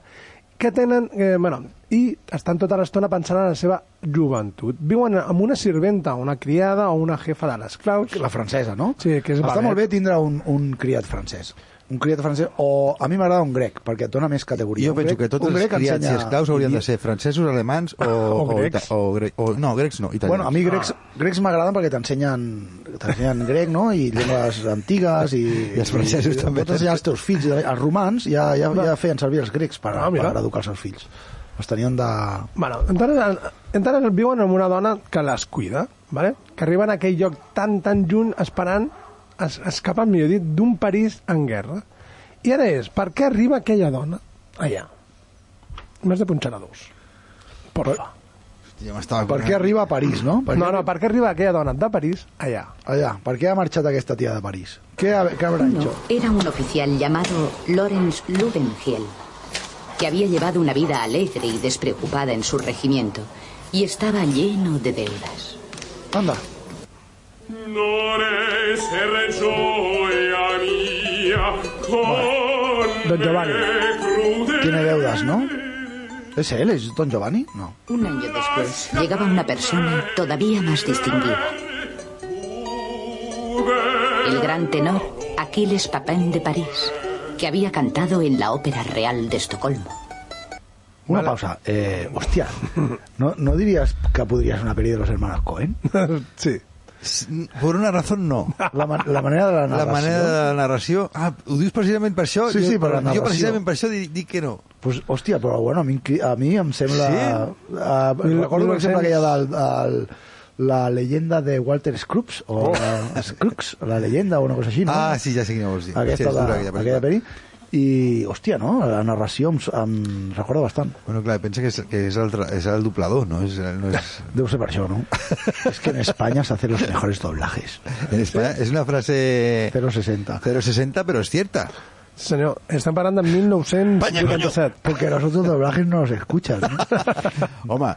[SPEAKER 6] que tenen, eh, bueno, i estan tota l'estona pensant en la seva joventut. Viuen amb una sirventa, una criada o una jefa de les claus.
[SPEAKER 7] La francesa, no?
[SPEAKER 6] Sí, que és
[SPEAKER 7] Està
[SPEAKER 6] Babette.
[SPEAKER 7] molt bé tindre un, un criat francès. Un criat francès, o a mi m'agrada un grec, perquè et dona més categoria.
[SPEAKER 8] Yo
[SPEAKER 7] Un
[SPEAKER 8] pienso
[SPEAKER 7] grec-
[SPEAKER 8] que todos
[SPEAKER 7] un
[SPEAKER 8] los
[SPEAKER 7] grec
[SPEAKER 8] criats
[SPEAKER 7] ensenya-
[SPEAKER 8] i esclaus haurien de ser francesos, alemans
[SPEAKER 7] (laughs)
[SPEAKER 8] o...
[SPEAKER 6] O
[SPEAKER 8] o
[SPEAKER 6] grecs.
[SPEAKER 8] ita- o gre- o- no, grecs no, italians.
[SPEAKER 7] Bueno, a mi grecs, grecs m'agraden perquè t'ensenyen t'ensenyen grec, no? I llengües antigues i...
[SPEAKER 8] I els francesos també.
[SPEAKER 7] Pots ensenyar als teus fills, els romans ja, ja, ja feien servir els grecs per,
[SPEAKER 6] Ah, mira.
[SPEAKER 7] per educar els seus fills. Els tenien de...
[SPEAKER 6] Bueno, entonces, eh, entonces viuen amb una dona que les cuida, ¿vale? que arriben a aquell lloc tan, tan lluny esperant, es, escapen, millor dit, d'un París en guerra. I ara és, per què arriba aquella dona allà? M'has de punxar a dos. Porfa.
[SPEAKER 8] Jo m'estava...
[SPEAKER 7] Per què arriba a París, no? Per
[SPEAKER 6] No,
[SPEAKER 7] què-
[SPEAKER 6] no, per què arriba aquella dona de París allà?
[SPEAKER 7] Allà, per què ha marxat aquesta tia de París? Què, ha- què haurà
[SPEAKER 3] Uno
[SPEAKER 7] hecho?
[SPEAKER 3] era un oficial llamado Lorenz Lubenhiel, que había llevado una vida alegre y despreocupada en su regimiento y estaba lleno de deudas.
[SPEAKER 7] Anda.
[SPEAKER 1] Nore serre gioia mia con
[SPEAKER 7] Don Giovanni.
[SPEAKER 1] me crude
[SPEAKER 7] Tiene deudas, no? ¿Es él? ¿Es Don Giovanni? No.
[SPEAKER 3] Un año después llegaba una persona todavía más distinguida. El gran tenor Aquiles Papin de París, que había cantado en la Ópera Real de Estocolmo.
[SPEAKER 7] Una pausa. Eh, hostia, ¿no, ¿no dirías que podrías una peli de los hermanos Cohen?
[SPEAKER 6] sí.
[SPEAKER 8] Per una raó no.
[SPEAKER 7] (laughs) La, ma- la manera de
[SPEAKER 8] (laughs) La
[SPEAKER 7] la narració.
[SPEAKER 8] manera de la narració... Ah, ho dius precisament per això?
[SPEAKER 7] Sí, sí, per la
[SPEAKER 8] Jo
[SPEAKER 7] narració.
[SPEAKER 8] precisament per això dic, dic que no.
[SPEAKER 7] Pues, hòstia, però bueno, a mi, em cri- a mi em sembla...
[SPEAKER 8] Sí?
[SPEAKER 7] Uh,
[SPEAKER 6] Mil-
[SPEAKER 7] recordo, per exemple,
[SPEAKER 6] 1900.
[SPEAKER 7] aquella del... El, la leyenda de Walter Scruggs o oh. la, Scruggs, la leyenda o una cosa així, no?
[SPEAKER 8] Ah, sí, ja sé quina vols dir. sí,
[SPEAKER 7] aquesta,
[SPEAKER 8] és
[SPEAKER 7] la,
[SPEAKER 8] dura,
[SPEAKER 7] aquella,
[SPEAKER 8] pel·lícula.
[SPEAKER 7] peli. I, hòstia, no? La narració em, em recorda bastant.
[SPEAKER 8] Bueno, clar, pensa que és, que és, el, tra- és el doblador, no? És, no és...
[SPEAKER 7] (laughs) Deu ser per això, no? és que en Espanya se hacen los mejores doblajes.
[SPEAKER 8] En Espanya és una frase
[SPEAKER 7] 060.
[SPEAKER 8] 060, però és cierta.
[SPEAKER 6] Senyor, estem parlant de 1987.
[SPEAKER 7] Porque los otros doblajes no los escuchas, (laughs) ¿no?
[SPEAKER 8] Home,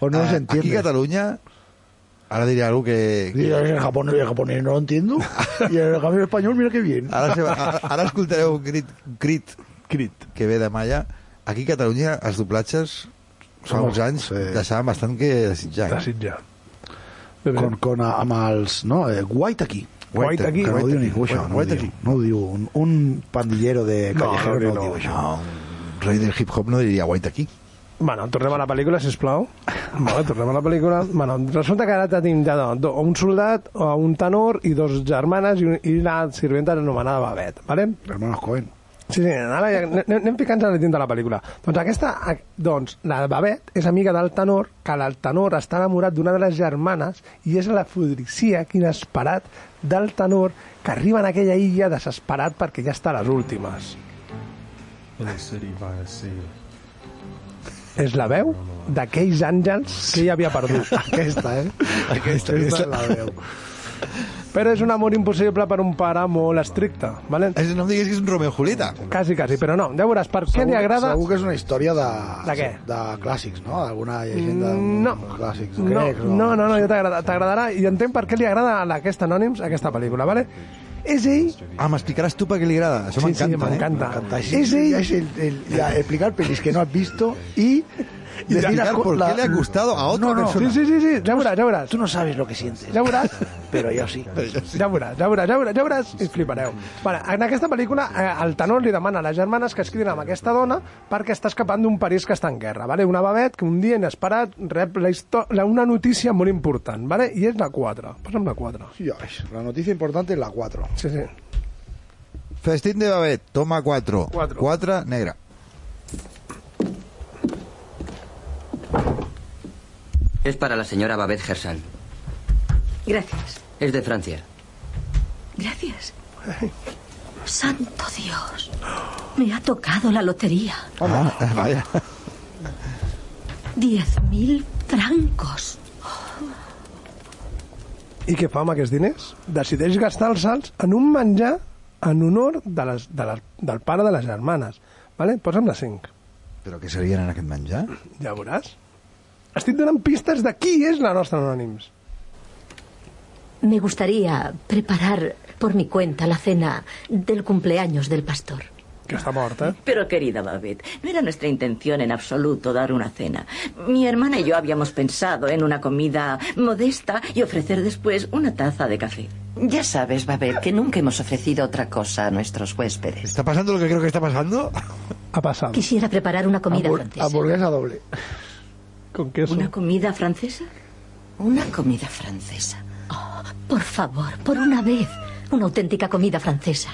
[SPEAKER 7] O no
[SPEAKER 8] a-
[SPEAKER 7] se entiende.
[SPEAKER 8] aquí a Catalunya, ara diré alguna que...
[SPEAKER 7] Y el japonés, el japonés no lo entiendo. (laughs) Y el japonés español, mira qué bien.
[SPEAKER 8] Ara, se, ara, ara escoltareu un crit, un crit
[SPEAKER 6] Crit.
[SPEAKER 8] que ve de Malla. Aquí a Catalunya els doblatges fa
[SPEAKER 7] Home,
[SPEAKER 8] uns anys
[SPEAKER 7] sí.
[SPEAKER 8] deixaven bastant que desitjar.
[SPEAKER 6] Així ja. Bé, bé.
[SPEAKER 7] Con, con a- amb els... No, eh, White aquí.
[SPEAKER 8] Guaita aquí.
[SPEAKER 7] Que no ho diu ningú,
[SPEAKER 8] Guaita
[SPEAKER 7] això.
[SPEAKER 8] aquí.
[SPEAKER 7] No ho diu, no ho diu. Un, un pandillero de
[SPEAKER 6] No,
[SPEAKER 7] callejero no,
[SPEAKER 6] no,
[SPEAKER 7] ho diu,
[SPEAKER 6] no.
[SPEAKER 7] això.
[SPEAKER 8] No, un rei del hip-hop no diria guaita aquí.
[SPEAKER 6] Bueno, tornem a la pel·lícula, sisplau. Bueno, tornem a la pel·lícula. Bueno, resulta que ara tenim de, do- un soldat, o un tenor i dos germanes i, un, i la sirventa anomenada Babet, ¿vale?
[SPEAKER 7] Hermanos Cohen.
[SPEAKER 6] Sí, sí, ara ja anem, anem picant-se en de la pel·lícula. Doncs aquesta, a- doncs, la Babet és amiga del tenor, que el tenor està enamorat d'una de les germanes i és la fudricia, quin esperat, del tenor, que arriba en aquella illa desesperat perquè ja està a les últimes.
[SPEAKER 11] in the city by the sea.
[SPEAKER 6] És la veu d'aquells àngels que ella havia perdut. (laughs) Aquesta, eh?
[SPEAKER 7] Aquesta,
[SPEAKER 6] Aquesta
[SPEAKER 7] aquesta
[SPEAKER 6] és
[SPEAKER 7] la veu.
[SPEAKER 6] Però és un amor impossible per un pare molt estricte, vale? És,
[SPEAKER 8] no em diguis que és un Romeo i Julieta.
[SPEAKER 6] Quasi, quasi, però no. Ja veuràs per què li agrada...
[SPEAKER 7] Segur que és una història de...
[SPEAKER 6] De què?
[SPEAKER 7] De clàssics, no? D'alguna llegenda
[SPEAKER 6] Mm, No.
[SPEAKER 7] de clàssics
[SPEAKER 6] No,
[SPEAKER 7] grecs. o-
[SPEAKER 6] no, no, no ja t'agrada- t'agradarà i entenc per què li agrada a aquest Anònims aquesta pel·lícula, vale? És ell...
[SPEAKER 8] Ah, m'explicaràs tu per què li agrada? Això
[SPEAKER 6] sí,
[SPEAKER 8] m'encanta,
[SPEAKER 6] sí, m'encanta.
[SPEAKER 7] Així,
[SPEAKER 6] És ell...
[SPEAKER 7] es el, el- la- explicar pelis que no has visto y...
[SPEAKER 6] Y
[SPEAKER 7] decir
[SPEAKER 6] explicar
[SPEAKER 7] las co-
[SPEAKER 6] por
[SPEAKER 7] la-
[SPEAKER 6] qué le ha gustado a otra persona. Sí, sí, sí, sí, ya verás, ya verás.
[SPEAKER 7] Tú no sabes lo que sientes.
[SPEAKER 6] Ja veuràs,
[SPEAKER 7] (laughs) Pero yo
[SPEAKER 6] (laughs)
[SPEAKER 7] sí.
[SPEAKER 6] ja veuràs, ja veuràs, ja veuràs, ja veuràs i flipareu. Vale, en aquesta pel·lícula eh, el tenor li demana a les germanes que es quedin amb aquesta dona perquè està escapant d'un París que està en guerra. Vale? Una babet que un dia inesperat rep la histò- la, una notícia molt important, vale? i és la 4. Posa'm la 4.
[SPEAKER 7] Sí, ay, La noticia importante es la 4.
[SPEAKER 6] Sí, sí.
[SPEAKER 8] Festín de Babet, toma 4.
[SPEAKER 6] Cuatro.
[SPEAKER 8] 4 negra.
[SPEAKER 12] Es para la señora Babette Gersan.
[SPEAKER 10] Gracias.
[SPEAKER 12] Es de Francia.
[SPEAKER 10] Gracias. Santo Dios. Me ha tocado la lotería.
[SPEAKER 8] Ah, vaya.
[SPEAKER 10] Diez mil francos.
[SPEAKER 6] I què fa amb aquests diners? Decideix gastar els salts en un menjar en honor de les, de les, del pare de les germanes. Vale? Posa'm la 5.
[SPEAKER 8] Però què serien en aquest menjar?
[SPEAKER 6] Ja veuràs. Estic donant pistes de qui és la nostra Anònims.
[SPEAKER 10] Me gustaría preparar por mi cuenta la cena del cumpleaños del pastor.
[SPEAKER 6] Que está muerta.
[SPEAKER 13] Pero querida Babette, no era nuestra intención en absoluto dar una cena. Mi hermana y yo habíamos pensado en una comida modesta y ofrecer después una taza de café.
[SPEAKER 14] Ya sabes, Babel, que nunca hemos ofrecido otra cosa a nuestros huéspedes.
[SPEAKER 8] ¿Está pasando lo que creo que está pasando?
[SPEAKER 6] Ha pasado.
[SPEAKER 10] Quisiera preparar una comida francesa.
[SPEAKER 7] Hamburguesa doble.
[SPEAKER 6] ¿Con queso?
[SPEAKER 13] ¿Una comida francesa?
[SPEAKER 14] Una comida francesa.
[SPEAKER 10] Oh, Por favor, por una vez, una auténtica comida francesa.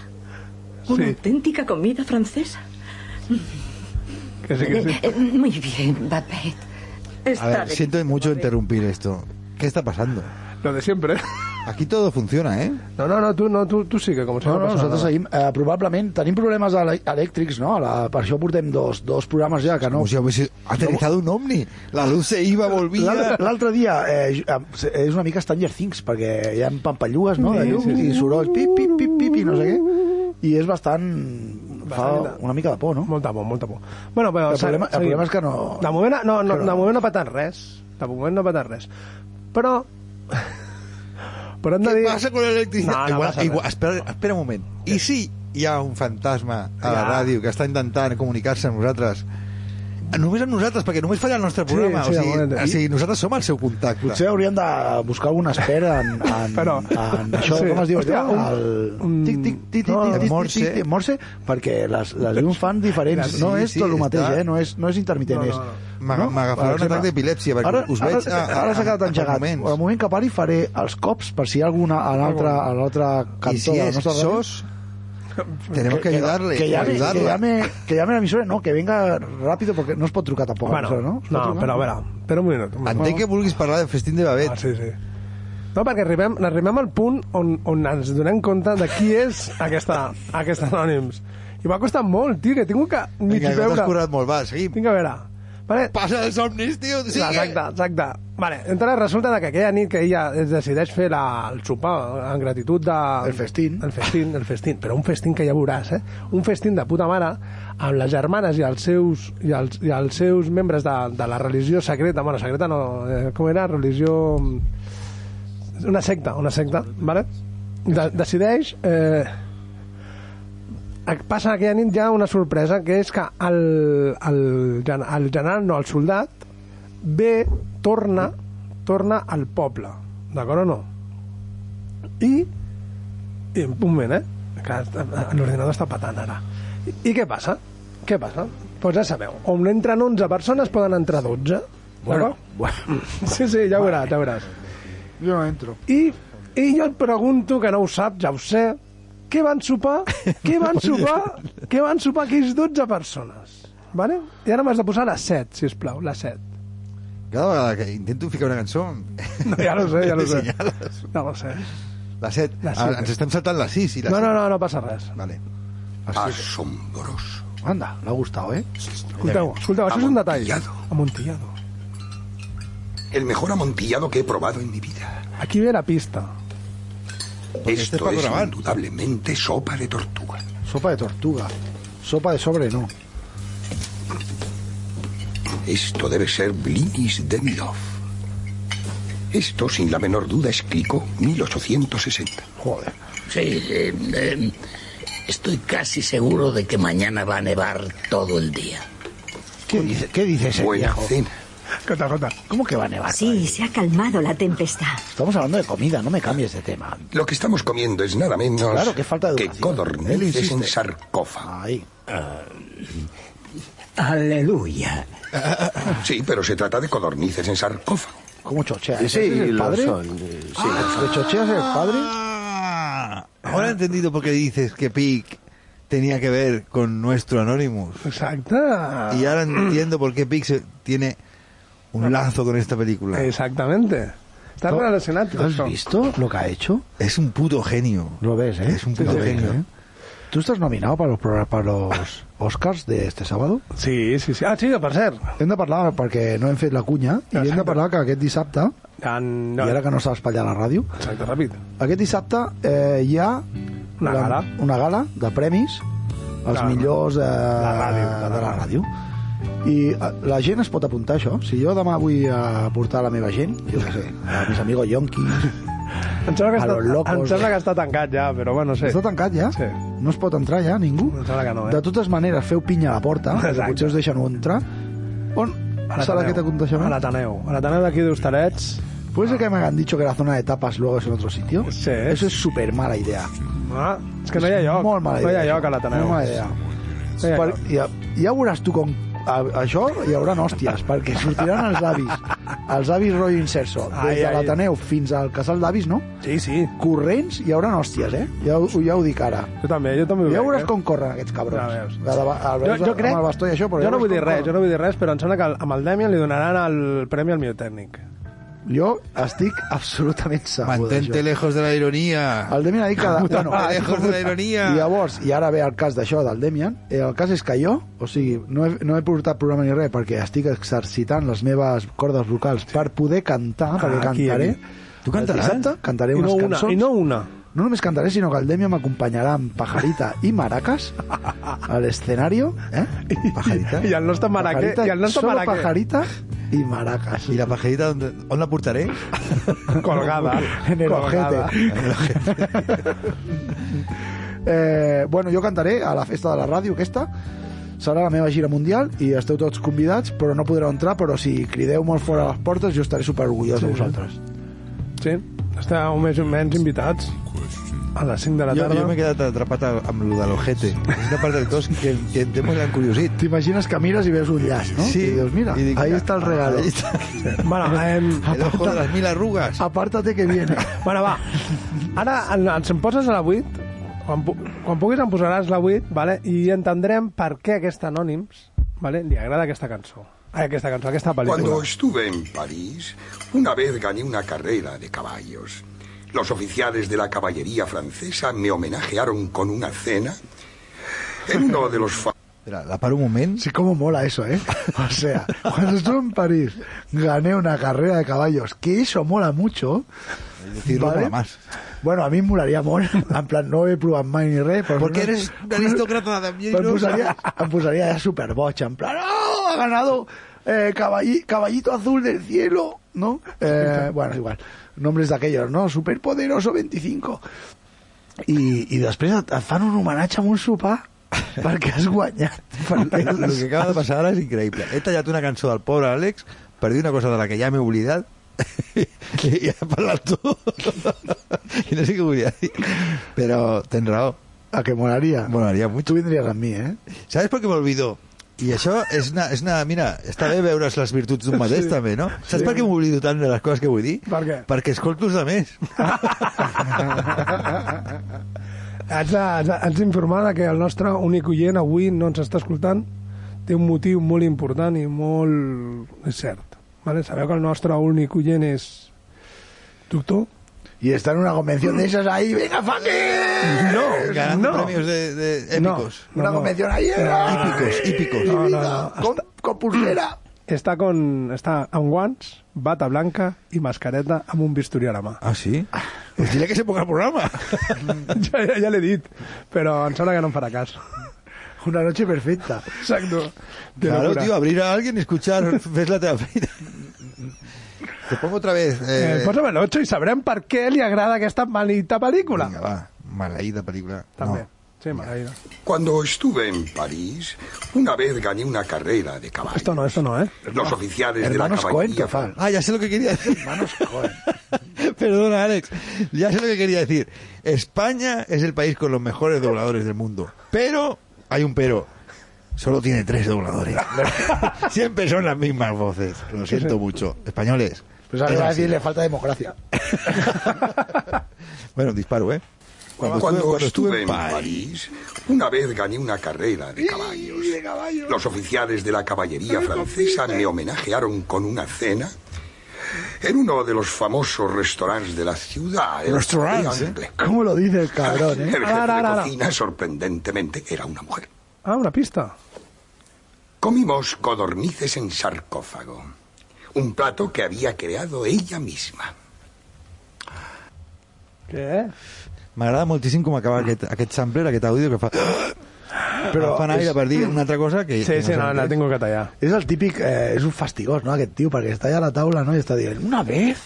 [SPEAKER 13] ¿Una auténtica comida francesa?
[SPEAKER 6] Que sí, que sí.
[SPEAKER 14] Eh, muy bien, Babette.
[SPEAKER 8] A ver, siento mucho interrumpir esto. ¿Qué está pasando?
[SPEAKER 6] Lo de siempre.
[SPEAKER 8] Aquí todo funciona, ¿eh?
[SPEAKER 6] No, no, no, tú, no, tú, tú sí que com si
[SPEAKER 7] No, no,
[SPEAKER 6] passés
[SPEAKER 7] nosaltres
[SPEAKER 6] res.
[SPEAKER 7] seguim. Eh, probablement tenim problemes ele- elèctrics, no? La, per això portem dos, dos programes ja que no...
[SPEAKER 8] Com si hagués aterrizado un ovni. La luz se iba, volvia...
[SPEAKER 7] L'al- L'altre dia eh, j- eh, és una mica Stranger Things, perquè hi ha pampallugues, no? De
[SPEAKER 6] Sí,
[SPEAKER 7] llum
[SPEAKER 6] sí, sí.
[SPEAKER 7] i sorolls, pip, pip, pip, pip, i no sé què. I és bastant... Fa
[SPEAKER 6] Bastant de-
[SPEAKER 7] una mica de por, no?
[SPEAKER 6] Molta por, molta por. Bueno, però...
[SPEAKER 7] El
[SPEAKER 6] se-
[SPEAKER 7] problema- el
[SPEAKER 6] seguim.
[SPEAKER 7] problema és que no-
[SPEAKER 6] De moment no, no,
[SPEAKER 7] que no.
[SPEAKER 6] de moment no ha patat res. De moment no ha patat res. Però... Però hem de dir...
[SPEAKER 8] ¿Qué pasa con la electricidad?
[SPEAKER 6] No, no
[SPEAKER 8] Igual-
[SPEAKER 6] passa res.
[SPEAKER 8] igual- espera, espera un moment. I si hi ha un fantasma a la
[SPEAKER 6] Ja.
[SPEAKER 8] ràdio que està intentant comunicar-se amb nosaltres? Només amb nosaltres, perquè només falla el nostre programa.
[SPEAKER 7] sí, de
[SPEAKER 8] o, sigui,
[SPEAKER 7] moment.
[SPEAKER 8] o sigui, nosaltres som el seu contacte.
[SPEAKER 7] Potser hauríem de buscar algun expert en,
[SPEAKER 8] (laughs)
[SPEAKER 7] en,
[SPEAKER 8] Però-
[SPEAKER 7] en això,
[SPEAKER 8] Sí.
[SPEAKER 7] com es diu?
[SPEAKER 8] Hòstia,
[SPEAKER 7] Hòstia,
[SPEAKER 8] un-
[SPEAKER 7] el... Tic, tic, tic, tic,
[SPEAKER 8] No,
[SPEAKER 7] tic,
[SPEAKER 8] el
[SPEAKER 7] tic,
[SPEAKER 8] Morse.
[SPEAKER 7] tic, tic, Morse, perquè les, les diu fan diferents.
[SPEAKER 8] Sí,
[SPEAKER 7] no és
[SPEAKER 8] sí,
[SPEAKER 7] tot el mateix,
[SPEAKER 8] està.
[SPEAKER 7] eh? No és, no és intermitent.
[SPEAKER 8] No,
[SPEAKER 7] és-
[SPEAKER 8] no, no. M'ag- m'agafarà
[SPEAKER 7] Per
[SPEAKER 8] un
[SPEAKER 7] exemple,
[SPEAKER 8] atac d'epilèpsia, perquè
[SPEAKER 7] ara,
[SPEAKER 8] us veig
[SPEAKER 7] Ara,
[SPEAKER 8] a- a-
[SPEAKER 7] ara s'ha quedat
[SPEAKER 8] a- a
[SPEAKER 7] engegat.
[SPEAKER 8] moments.
[SPEAKER 7] Al moment que pari faré els cops per si hi ha alguna a l'altre a l'altre cantó
[SPEAKER 8] I si
[SPEAKER 7] de la
[SPEAKER 8] és
[SPEAKER 7] nostra ràdio.
[SPEAKER 8] sos, tenemos que ayudarle.
[SPEAKER 7] Que llame,
[SPEAKER 8] ayudarla.
[SPEAKER 7] que llame, que llame a l'emissora, no, que venga ràpido, porque no es pot trucar tampoc. a
[SPEAKER 6] Bueno,
[SPEAKER 7] l'emissora, no, Es pot
[SPEAKER 6] no,
[SPEAKER 7] trucar?
[SPEAKER 6] però a veure, espera un minut. un minut.
[SPEAKER 8] Entenc que vulguis parlar del festín de Babet.
[SPEAKER 6] Ah, sí, sí. No, perquè arribem, arribem al punt on, on ens donem compte de qui és aquesta, aquesta Anònims. I m'ha costat molt, tio, que he tingut que mig
[SPEAKER 8] Vinga, que t'has
[SPEAKER 6] veure...
[SPEAKER 8] currat molt, va, seguim.
[SPEAKER 6] Vinga, a veure. Vale.
[SPEAKER 8] Passa dels somnis, tio, sigue.
[SPEAKER 6] Exacte, exacte. Vale, entonces resulta que aquella nit que ella es decideix fer la, el sopar en gratitud de... El festín. El festín, el festín. Però un festín que ja veuràs, eh? Un festín de puta mare amb les germanes i els seus, i els, i els seus membres de, de la religió secreta. Bueno, secreta no... Eh, com era? Religió... mm, Una secta, una secta, vale? De, decideix... Eh, passa aquella nit ja una sorpresa, que és que el, el, gen- el general, no, el soldat, ve, torna, torna al poble, d'acord o no? I, i un moment, eh? Que est- l'ordinador està patant ara. I, I què passa? Què passa? Doncs ja sabeu, on entren 11 persones poden entrar 12.
[SPEAKER 7] Bueno,
[SPEAKER 6] Bueno, Sí, sí, ja ho veuràs, ja ho veuràs.
[SPEAKER 7] Jo no entro.
[SPEAKER 6] I, I jo et pregunto, que no ho sap, ja ho sé, què van sopar? Què van (laughs) sopar? què van sopar aquells 12 persones? Vale? I ara m'has de posar les 7, si us plau, les 7.
[SPEAKER 8] Cada vegada que intento ficar una cançó...
[SPEAKER 6] No, ja lo sé, ja lo sé.
[SPEAKER 8] Senyales.
[SPEAKER 6] No ho sé.
[SPEAKER 8] La Ah, 7.
[SPEAKER 6] La
[SPEAKER 8] La
[SPEAKER 6] set.
[SPEAKER 8] Ens estem saltant la 6 i la
[SPEAKER 6] No, no,
[SPEAKER 8] set.
[SPEAKER 6] no, no passa res.
[SPEAKER 8] Vale. Ah.
[SPEAKER 7] Asombroso. Anda, l'ha gustado, ¿eh?
[SPEAKER 6] Escolteu, escolteu, això és un detall. Amontillado.
[SPEAKER 5] El mejor amontillado que he probado en mi vida.
[SPEAKER 6] Aquí ve la pista.
[SPEAKER 7] este es
[SPEAKER 5] Esto
[SPEAKER 7] para
[SPEAKER 5] es
[SPEAKER 7] grabar.
[SPEAKER 5] indudablemente sopa de tortuga.
[SPEAKER 7] Sopa de tortuga. Sopa de sobre, no.
[SPEAKER 5] Esto debe ser blinis de Milov. Esto, sin la menor duda, es Clicó 1860.
[SPEAKER 7] Joder.
[SPEAKER 15] Sí, eh, eh, estoy casi seguro de que mañana va a nevar todo el día.
[SPEAKER 7] ¿Qué dice, qué dice ese
[SPEAKER 15] Buena
[SPEAKER 7] viejo?
[SPEAKER 15] cena.
[SPEAKER 7] Jota, Jota, ¿Cómo que va a nevar?
[SPEAKER 16] Sí, se ha calmado la tempestad.
[SPEAKER 7] Estamos hablando de comida, no me cambies de tema.
[SPEAKER 5] Lo que estamos comiendo es nada menos
[SPEAKER 7] Claro, qué falta de
[SPEAKER 5] que
[SPEAKER 7] educación. Él
[SPEAKER 5] codornices
[SPEAKER 7] insiste.
[SPEAKER 5] en sarcófago.
[SPEAKER 7] Ah,
[SPEAKER 15] Aleluya.
[SPEAKER 5] Sí, pero se trata de codornices en sarcófago.
[SPEAKER 7] ¿Cómo chochea?
[SPEAKER 5] Sí,
[SPEAKER 7] ¿Ese es el
[SPEAKER 5] lo
[SPEAKER 7] padre? Ah.
[SPEAKER 5] son,
[SPEAKER 7] sí. ¿Le chocheas el padre?
[SPEAKER 8] Ahora he entendido por qué dices que Pic tenía que ver con nuestro Anonymous.
[SPEAKER 6] Exacto.
[SPEAKER 8] Y ahora entiendo por qué Pic se- tiene un lazo con esta película.
[SPEAKER 6] Exactamente. Está
[SPEAKER 8] No,
[SPEAKER 6] relacionado.
[SPEAKER 8] ¿lo has
[SPEAKER 6] Tom.
[SPEAKER 7] ¿Visto lo que ha hecho?
[SPEAKER 8] Es un puto genio.
[SPEAKER 7] Lo ves, ¿eh?
[SPEAKER 8] Es un puto
[SPEAKER 7] Lo ves,
[SPEAKER 8] genio.
[SPEAKER 7] ¿eh? ¿Tú estás nominado para los, pro- para los (laughs) Oscars de este sábado?
[SPEAKER 6] Sí, sí, sí. Ah, sí, per cert.
[SPEAKER 7] Hem de parlar, perquè no hem fet la cunya, i hem de parlar que aquest dissabte,
[SPEAKER 6] En...
[SPEAKER 7] no. i ara que no s'ha espatllat la ràdio,
[SPEAKER 6] Exacte, ràpid.
[SPEAKER 7] aquest dissabte eh, hi ha
[SPEAKER 6] Una
[SPEAKER 7] la-
[SPEAKER 6] gala.
[SPEAKER 7] una gala de premis als
[SPEAKER 6] La-
[SPEAKER 7] millors eh,
[SPEAKER 6] ràdio, la
[SPEAKER 7] de la ràdio. I eh, la gent es pot apuntar a això. Si jo demà vull eh, portar la meva gent, jo què sé, a mis amigos yonquis,
[SPEAKER 6] Em sembla que,
[SPEAKER 7] A
[SPEAKER 6] està,
[SPEAKER 7] los locos,
[SPEAKER 6] em sembla
[SPEAKER 7] eh?
[SPEAKER 6] que està tancat ja, però bueno, sí.
[SPEAKER 7] Està tancat ja?
[SPEAKER 6] Sí.
[SPEAKER 7] No es pot entrar ja, ningú?
[SPEAKER 6] Em sembla que no, eh?
[SPEAKER 7] De totes maneres, feu pinya a la porta, que
[SPEAKER 6] Exacte.
[SPEAKER 7] potser us deixen entrar. On?
[SPEAKER 6] A
[SPEAKER 7] Sala
[SPEAKER 6] l'Ateneu.
[SPEAKER 7] que eh? t'acontejarà?
[SPEAKER 6] A l'Ateneu. A l'Ateneu d'aquí d'Hostalets.
[SPEAKER 7] ¿Puede ser que me hayan dicho que la zona de tapas luego es en otro sitio? Sí. Eso es súper mala idea.
[SPEAKER 6] Ah, és que no hi ha lloc.
[SPEAKER 7] Molt mala
[SPEAKER 6] no hi
[SPEAKER 7] idea.
[SPEAKER 6] ha lloc a
[SPEAKER 7] Molt
[SPEAKER 6] l'Ateneu.
[SPEAKER 7] mala idea.
[SPEAKER 6] No hi ha
[SPEAKER 7] Per,
[SPEAKER 6] lloc.
[SPEAKER 7] ja, ja veuràs tu com a, això hi haurà hòsties, perquè sortiran els avis, els avis rotllo inserso,
[SPEAKER 6] Ai,
[SPEAKER 7] des de
[SPEAKER 6] ai.
[SPEAKER 7] l'Ateneu fins al casal d'avis, no?
[SPEAKER 6] Sí, sí.
[SPEAKER 7] Corrents hi haurà hòsties, eh? Ja, ho- ja ho dic ara.
[SPEAKER 6] Jo també, jo també ho
[SPEAKER 7] Ja
[SPEAKER 6] veig,
[SPEAKER 7] veuràs
[SPEAKER 6] eh?
[SPEAKER 7] com corren aquests
[SPEAKER 6] Ja
[SPEAKER 7] cabrons.
[SPEAKER 6] veus.
[SPEAKER 7] Ja
[SPEAKER 6] Jo, jo crec...
[SPEAKER 7] Amb el bastó i això, però ja
[SPEAKER 6] jo no
[SPEAKER 7] veuràs
[SPEAKER 6] vull dir
[SPEAKER 7] com
[SPEAKER 6] res,
[SPEAKER 7] corren.
[SPEAKER 6] jo no vull dir res, però em sembla que al- amb el Demian li donaran el premi al millor tècnic.
[SPEAKER 7] Jo estic (laughs) absolutament segur
[SPEAKER 8] Mantente lejos de la ironía.
[SPEAKER 7] El Demian ha dit que...
[SPEAKER 8] Puta madre, lejos de la ironia.
[SPEAKER 7] I (laughs) llavors, i ara ve el cas d'això del Demian, eh, el cas és que jo, o sigui, no he, no he portat programa ni res perquè estic exercitant les meves cordes vocals per poder cantar, perquè
[SPEAKER 6] Ah, aquí,
[SPEAKER 7] cantaré.
[SPEAKER 6] aquí. Tu cantaràs?
[SPEAKER 7] Dissabte cantaré
[SPEAKER 6] I no
[SPEAKER 7] unes
[SPEAKER 6] una,
[SPEAKER 7] cançons.
[SPEAKER 6] i no una.
[SPEAKER 7] No només cantaré, sinó que el Demian m'acompanyarà amb Pajarita i Maracas a l'escenari. Eh? Pajarita.
[SPEAKER 6] (laughs) I el nostre maraquer...
[SPEAKER 7] Pajarita,
[SPEAKER 6] I el nostre
[SPEAKER 7] solo
[SPEAKER 6] maraquer...
[SPEAKER 7] Pajarita i Maracas.
[SPEAKER 8] ¿Y la pajarita dónde, on la portaré?
[SPEAKER 7] (laughs)
[SPEAKER 6] Colgada.
[SPEAKER 7] En el
[SPEAKER 6] colgada.
[SPEAKER 7] ojete. (laughs) Eh, bueno, jo cantaré a la festa de la ràdio aquesta, serà la meva gira mundial i esteu tots convidats, però no podreu entrar, però si crideu molt fora a les portes jo estaré super orgullós
[SPEAKER 6] Sí,
[SPEAKER 7] de vosaltres.
[SPEAKER 6] Sí, estàveu més o menys invitats a les 5 de la
[SPEAKER 8] Jo,
[SPEAKER 6] tarda.
[SPEAKER 8] jo m'he quedat atrapat a- amb lo de l'ojete. És una part del cos que, que en té molt gran curiositat.
[SPEAKER 7] T'imagines que mires i veus un llaç, no?
[SPEAKER 8] Sí.
[SPEAKER 7] I dius, mira,
[SPEAKER 8] I dic,
[SPEAKER 7] ahí
[SPEAKER 8] mira,
[SPEAKER 7] está el regalo.
[SPEAKER 8] ahí está.
[SPEAKER 7] (laughs)
[SPEAKER 6] Bueno, em...
[SPEAKER 8] El ojo de las mil arrugas.
[SPEAKER 7] Apártate que viene.
[SPEAKER 6] Bueno, va. Ara en- ens en poses a la 8, quan, pu- quan puguis em posaràs la 8, vale? i entendrem per què a aquest Anònims vale? li agrada aquesta cançó. Ai, aquesta cançó, aquesta
[SPEAKER 5] Cuando
[SPEAKER 6] pel·lícula.
[SPEAKER 5] estuve en París, una vez gané una carrera de caballos. Los oficiales de la caballería francesa me homenajearon con una cena en uno de los fa-
[SPEAKER 8] Espera, la paro un moment.
[SPEAKER 7] Sí, cómo mola eso, ¿eh? O sea, cuando estuve en París, gané una carrera de caballos, que eso mola mucho.
[SPEAKER 8] Es decir, no mola más.
[SPEAKER 7] Bueno, a mí me molaría molt. (laughs) En plan, no he provat mai ni res. Però
[SPEAKER 8] Porque eres un
[SPEAKER 7] (laughs)
[SPEAKER 8] aristócrata de mierda. (laughs)
[SPEAKER 7] Em (laughs) posaria, em posaria ja superboig, en plan, oh, ha ganado eh, caballi- caballito azul del cielo, ¿no? Eh, bueno, igual, nombres d'aquells, ¿no? Superpoderoso 25. I, i després et, et fan un homenatge amb un sopar (laughs) perquè has guanyat.
[SPEAKER 8] (laughs) Lo que acaba de pasar ahora es increíble. He tallat una cançó del pobre Àlex, perdí una cosa de la que ja m'he oblidat, (laughs) i he parlat tu. (laughs) I no sé què volia dir. Però tens raó.
[SPEAKER 7] A que molaria.
[SPEAKER 8] Molaria mucho.
[SPEAKER 7] Tú vendrías a mí, ¿eh?
[SPEAKER 8] ¿Sabes por qué me olvidó? I això és una, és una... Mira, està bé veure's les virtuts d'un mateix, sí.
[SPEAKER 6] Sí.
[SPEAKER 8] també, no? Saps
[SPEAKER 6] Sí.
[SPEAKER 8] per què m'oblido tant de les coses que vull dir?
[SPEAKER 6] Per què?
[SPEAKER 8] Perquè escolto els altres.
[SPEAKER 6] (laughs) Haig de- haig de- haig d'informar de que el nostre únic oient avui no ens està escoltant. Té un motiu molt important i molt... és cert. Vale? Sabeu que el nostre únic oient és... Doctor?
[SPEAKER 7] Y está en una convención de esas ahí, venga, fucking.
[SPEAKER 6] No,
[SPEAKER 8] Ganando
[SPEAKER 6] Eh, Ah, no.
[SPEAKER 8] premios de, de épicos.
[SPEAKER 7] Una convención ahí, era.
[SPEAKER 8] Hípicos, hípicos.
[SPEAKER 6] No, no, no.
[SPEAKER 7] Con, con pulsera.
[SPEAKER 6] Està, con, està amb guants, bata blanca i mascareta amb un bisturí a la mà.
[SPEAKER 8] Ah, sí? Pues dile que se ponga el programa.
[SPEAKER 6] (laughs) ja ja, ja l'he dit, però em sembla que no em farà cas.
[SPEAKER 7] Una noche perfecta.
[SPEAKER 6] Exacto. De
[SPEAKER 8] Claro,
[SPEAKER 6] locura.
[SPEAKER 8] tío, abrir a alguien y escuchar, ves la terapia. Te pongo otra vez. Eh,
[SPEAKER 6] Eh, Posa'm l'8 i sabrem per què li agrada aquesta maldita pel·lícula.
[SPEAKER 8] Venga, va. Maleída película.
[SPEAKER 6] També. Sí, maleïda.
[SPEAKER 5] Cuando estuve en París, una vez gané una carrera de caballos.
[SPEAKER 6] Esto no, esto no, ¿eh?
[SPEAKER 5] Los oficiales
[SPEAKER 7] Hermanos
[SPEAKER 5] de la
[SPEAKER 7] Cohen,
[SPEAKER 5] caballería...
[SPEAKER 7] que fan.
[SPEAKER 8] Ah, ya sé lo que quería decir.
[SPEAKER 7] Hermanos
[SPEAKER 8] (laughs) Perdona, Alex. Ya sé lo que quería decir. España es el país con los mejores dobladores del mundo. Pero, hay un pero. Solo tiene tres dobladores. Siempre son las mismas voces. Lo siento mucho. Españoles.
[SPEAKER 7] Pues ahora iba a
[SPEAKER 8] es así.
[SPEAKER 7] decir, le falta democracia.
[SPEAKER 8] Bueno, disparo, ¿eh?
[SPEAKER 5] Cuando, estuve, en París, una vez gané una carrera de caballos. Los oficiales de la caballería francesa me homenajearon con una cena en uno de los famosos restaurantes de la ciudad. el
[SPEAKER 7] Restaurants, ¿eh?
[SPEAKER 5] Triangle.
[SPEAKER 7] ¿Cómo lo dice el cabrón,
[SPEAKER 5] El
[SPEAKER 6] (laughs)
[SPEAKER 7] eh?
[SPEAKER 5] jefe
[SPEAKER 6] Ara, ara,
[SPEAKER 5] de
[SPEAKER 6] ara.
[SPEAKER 5] cocina, sorprendentemente, era una mujer.
[SPEAKER 6] Ah, una pista.
[SPEAKER 5] Comimos codornices en sarcófago, un plato que había creado ella misma.
[SPEAKER 6] Què?
[SPEAKER 8] M'agrada moltíssim com acaba aquest, aquest sampler, aquest àudio que fa... Però
[SPEAKER 7] Però
[SPEAKER 8] fan aire
[SPEAKER 7] és-
[SPEAKER 8] per dir una altra cosa que...
[SPEAKER 6] Sí,
[SPEAKER 8] que
[SPEAKER 6] sí,
[SPEAKER 8] sé
[SPEAKER 6] no,
[SPEAKER 8] què
[SPEAKER 6] la
[SPEAKER 8] és.
[SPEAKER 6] tengo que tallar.
[SPEAKER 7] Es el típico, eh, es un fastigós, ¿no? Aquest tío, porque está allá a la taula, ¿no? Y está diciendo, una vez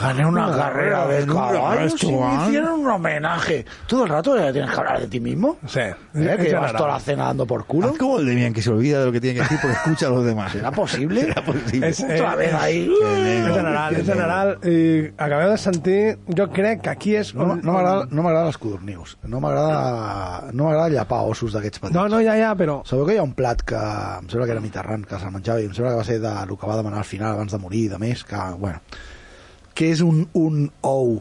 [SPEAKER 7] gané una,
[SPEAKER 6] Una
[SPEAKER 7] carrera
[SPEAKER 6] carrera
[SPEAKER 7] de
[SPEAKER 6] de
[SPEAKER 7] caballos y me
[SPEAKER 6] restaurant".
[SPEAKER 7] hicieron un homenaje. Todo el rato eh, tienes que hablar de ti mismo.
[SPEAKER 6] Sí.
[SPEAKER 7] ¿Eh? Que
[SPEAKER 6] en
[SPEAKER 7] llevas
[SPEAKER 6] general.
[SPEAKER 7] toda la cena dando por culo.
[SPEAKER 8] Haz como el Demian, que se olvida de lo que tiene que decir porque escucha a los demás.
[SPEAKER 7] ¿Será (laughs) posible?
[SPEAKER 8] Era posible.
[SPEAKER 6] És, eh,
[SPEAKER 7] Otra vez ahí.
[SPEAKER 6] En general, en general, i acabeu de sentir... Jo crec que aquí és...
[SPEAKER 7] No, no m'agrada no m'agrada les codornius. No m'agrada no m'agrada llapar ossos d'aquests petits.
[SPEAKER 6] No, no, ja, ja, però...
[SPEAKER 7] Sabeu que hi ha un plat que em sembla que era mediterran, que se'l menjava i em sembla que va ser de lo que va demanar al final abans de morir i de més, que, bueno, que és un, un ou.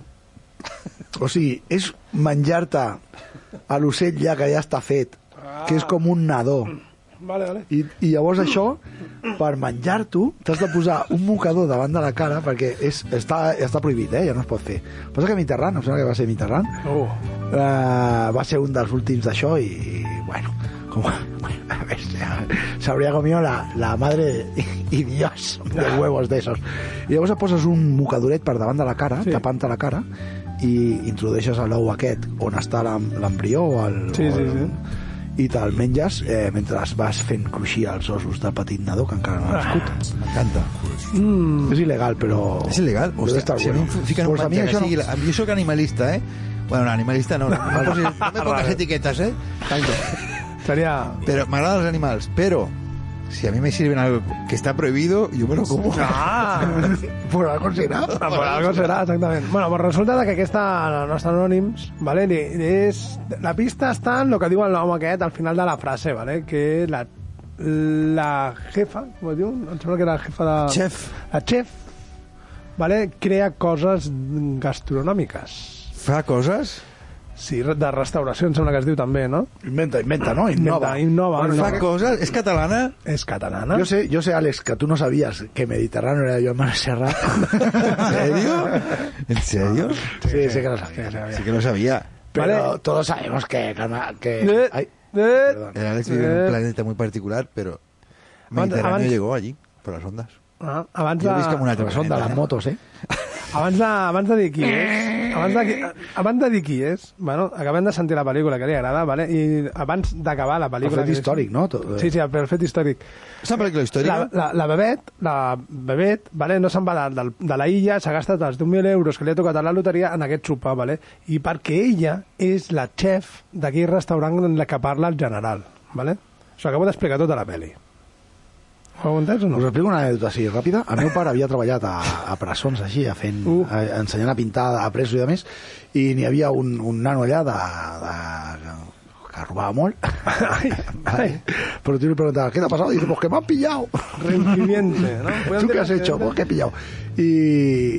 [SPEAKER 7] O sigui, és menjar-te a l'ocell ja que ja està fet, que és com un nadó.
[SPEAKER 6] Vale, vale.
[SPEAKER 7] I, i llavors això, per menjar-t'ho, t'has de posar un mocador davant de la cara perquè és, està, està prohibit, eh? ja no es pot fer. Passa que Mitterrand, em sembla que va ser Mitterrand,
[SPEAKER 6] Uh,
[SPEAKER 7] Eh, va ser un dels últims d'això i, i, bueno, com, bueno, a ver, se habría comido la, la madre y, y Dios de huevos de esos. I llavors et poses un mocadoret per davant de la cara,
[SPEAKER 6] Sí.
[SPEAKER 7] sí. tapant la cara, i introdueixes a l'ou aquest on està l'em- l'embrió o el...
[SPEAKER 6] Sí,
[SPEAKER 7] o
[SPEAKER 6] sí,
[SPEAKER 7] el-
[SPEAKER 6] sí.
[SPEAKER 7] i te'l menges eh, mentre vas fent cruixir els ossos del petit nadó que encara no ha nascut.
[SPEAKER 6] Ah.
[SPEAKER 7] M'encanta. Mm. És il·legal, però...
[SPEAKER 8] És il·legal.
[SPEAKER 7] Deu
[SPEAKER 8] Hòstia,
[SPEAKER 7] estar
[SPEAKER 8] si a mi
[SPEAKER 7] bueno.
[SPEAKER 8] em fiquen un
[SPEAKER 7] Pues a mi
[SPEAKER 8] patge que
[SPEAKER 7] això no-
[SPEAKER 8] sigui... la- Jo sóc animalista, eh? Bueno, no, animalista no. No, no, posis- no me pongas etiquetas, eh? Tanto.
[SPEAKER 6] seria...
[SPEAKER 8] Pero me agradan los animales, pero... Si a mí me sirven algo que está prohibido, yo me lo como.
[SPEAKER 6] (laughs) Ah!
[SPEAKER 7] Por algo será.
[SPEAKER 6] Ah, per algo serà, exactament. Bueno, pues resulta de que aquesta, la nostra Anònims, vale, li, li és, la pista està en el que diu el nom aquest al final de la frase, vale, que la, la jefa, com es diu? Em sembla que era la jefa de...
[SPEAKER 8] Chef.
[SPEAKER 6] La chef, vale, crea coses gastronòmiques.
[SPEAKER 8] Fa coses...
[SPEAKER 6] Sí, de restauració, em sembla que es diu també, no?
[SPEAKER 7] Inventa, inventa, no? Innova.
[SPEAKER 6] Inventa, innova,
[SPEAKER 8] Fa
[SPEAKER 6] innova.
[SPEAKER 8] coses... És catalana? (laughs)
[SPEAKER 6] És catalana.
[SPEAKER 7] Yo sé, yo sé, Alex, que tú no sabías que Mediterráneo era Joan
[SPEAKER 6] (laughs)
[SPEAKER 7] Serra.
[SPEAKER 8] ¿En serio? ¿En serio?
[SPEAKER 7] Sí, sí, que lo
[SPEAKER 6] Sí,
[SPEAKER 7] sabías.
[SPEAKER 6] sí,
[SPEAKER 8] Sí
[SPEAKER 6] sí.
[SPEAKER 8] que lo sabía.
[SPEAKER 7] Pero
[SPEAKER 6] Vale.
[SPEAKER 7] todos sabemos que... gana- que
[SPEAKER 6] Eh,
[SPEAKER 7] ay,
[SPEAKER 6] eh,
[SPEAKER 7] perdón.
[SPEAKER 8] El Alex vive en
[SPEAKER 6] Eh.
[SPEAKER 8] un planeta muy particular, pero Mediterráneo
[SPEAKER 6] abans-
[SPEAKER 8] llegó allí, por las ondas.
[SPEAKER 6] ah, abans
[SPEAKER 8] Jo visc
[SPEAKER 6] de...
[SPEAKER 8] en una
[SPEAKER 7] Pero
[SPEAKER 8] altra
[SPEAKER 7] son de las
[SPEAKER 8] planeta.
[SPEAKER 7] motos, ¿eh?
[SPEAKER 6] Abans de, abans de dir qui és, abans de, qui- abans de dir qui és, bueno, acabem de sentir la pel·lícula que li agrada, vale? i abans d'acabar la pel·lícula...
[SPEAKER 7] fet
[SPEAKER 6] que-
[SPEAKER 7] històric, no? Tot-
[SPEAKER 6] Sí, sí, el fet històric.
[SPEAKER 7] Eh,
[SPEAKER 8] ¿Es una película
[SPEAKER 6] La,
[SPEAKER 8] histórica?
[SPEAKER 6] la, la Bebet, la Bebet, vale? no se'n va de, de, de la illa, s'ha gastat els 10.000 euros que li ha tocat a la loteria en aquest sopar, vale? i perquè ella és la chef d'aquell restaurant en la que parla el general. Vale? Això acabo d'explicar tota la pel·li. Ho heu entès o
[SPEAKER 7] Us
[SPEAKER 6] no?
[SPEAKER 7] explico una anècdota així ràpida. El meu pare havia treballat a, a presons així, a fent,
[SPEAKER 6] Uh.
[SPEAKER 7] a, ensenyant a pintar a presos i a més, i n'hi havia un, un nano allà de, de, que robaba molt.
[SPEAKER 6] (laughs)
[SPEAKER 7] Vale. Pero tú le preguntabas, ¿qué te ha pasado? Y dice, pues que me han pillado.
[SPEAKER 6] Reincidente,
[SPEAKER 7] (laughs)
[SPEAKER 6] ¿no?
[SPEAKER 7] ¿Tú qué has hecho? Pues que he pillado. I,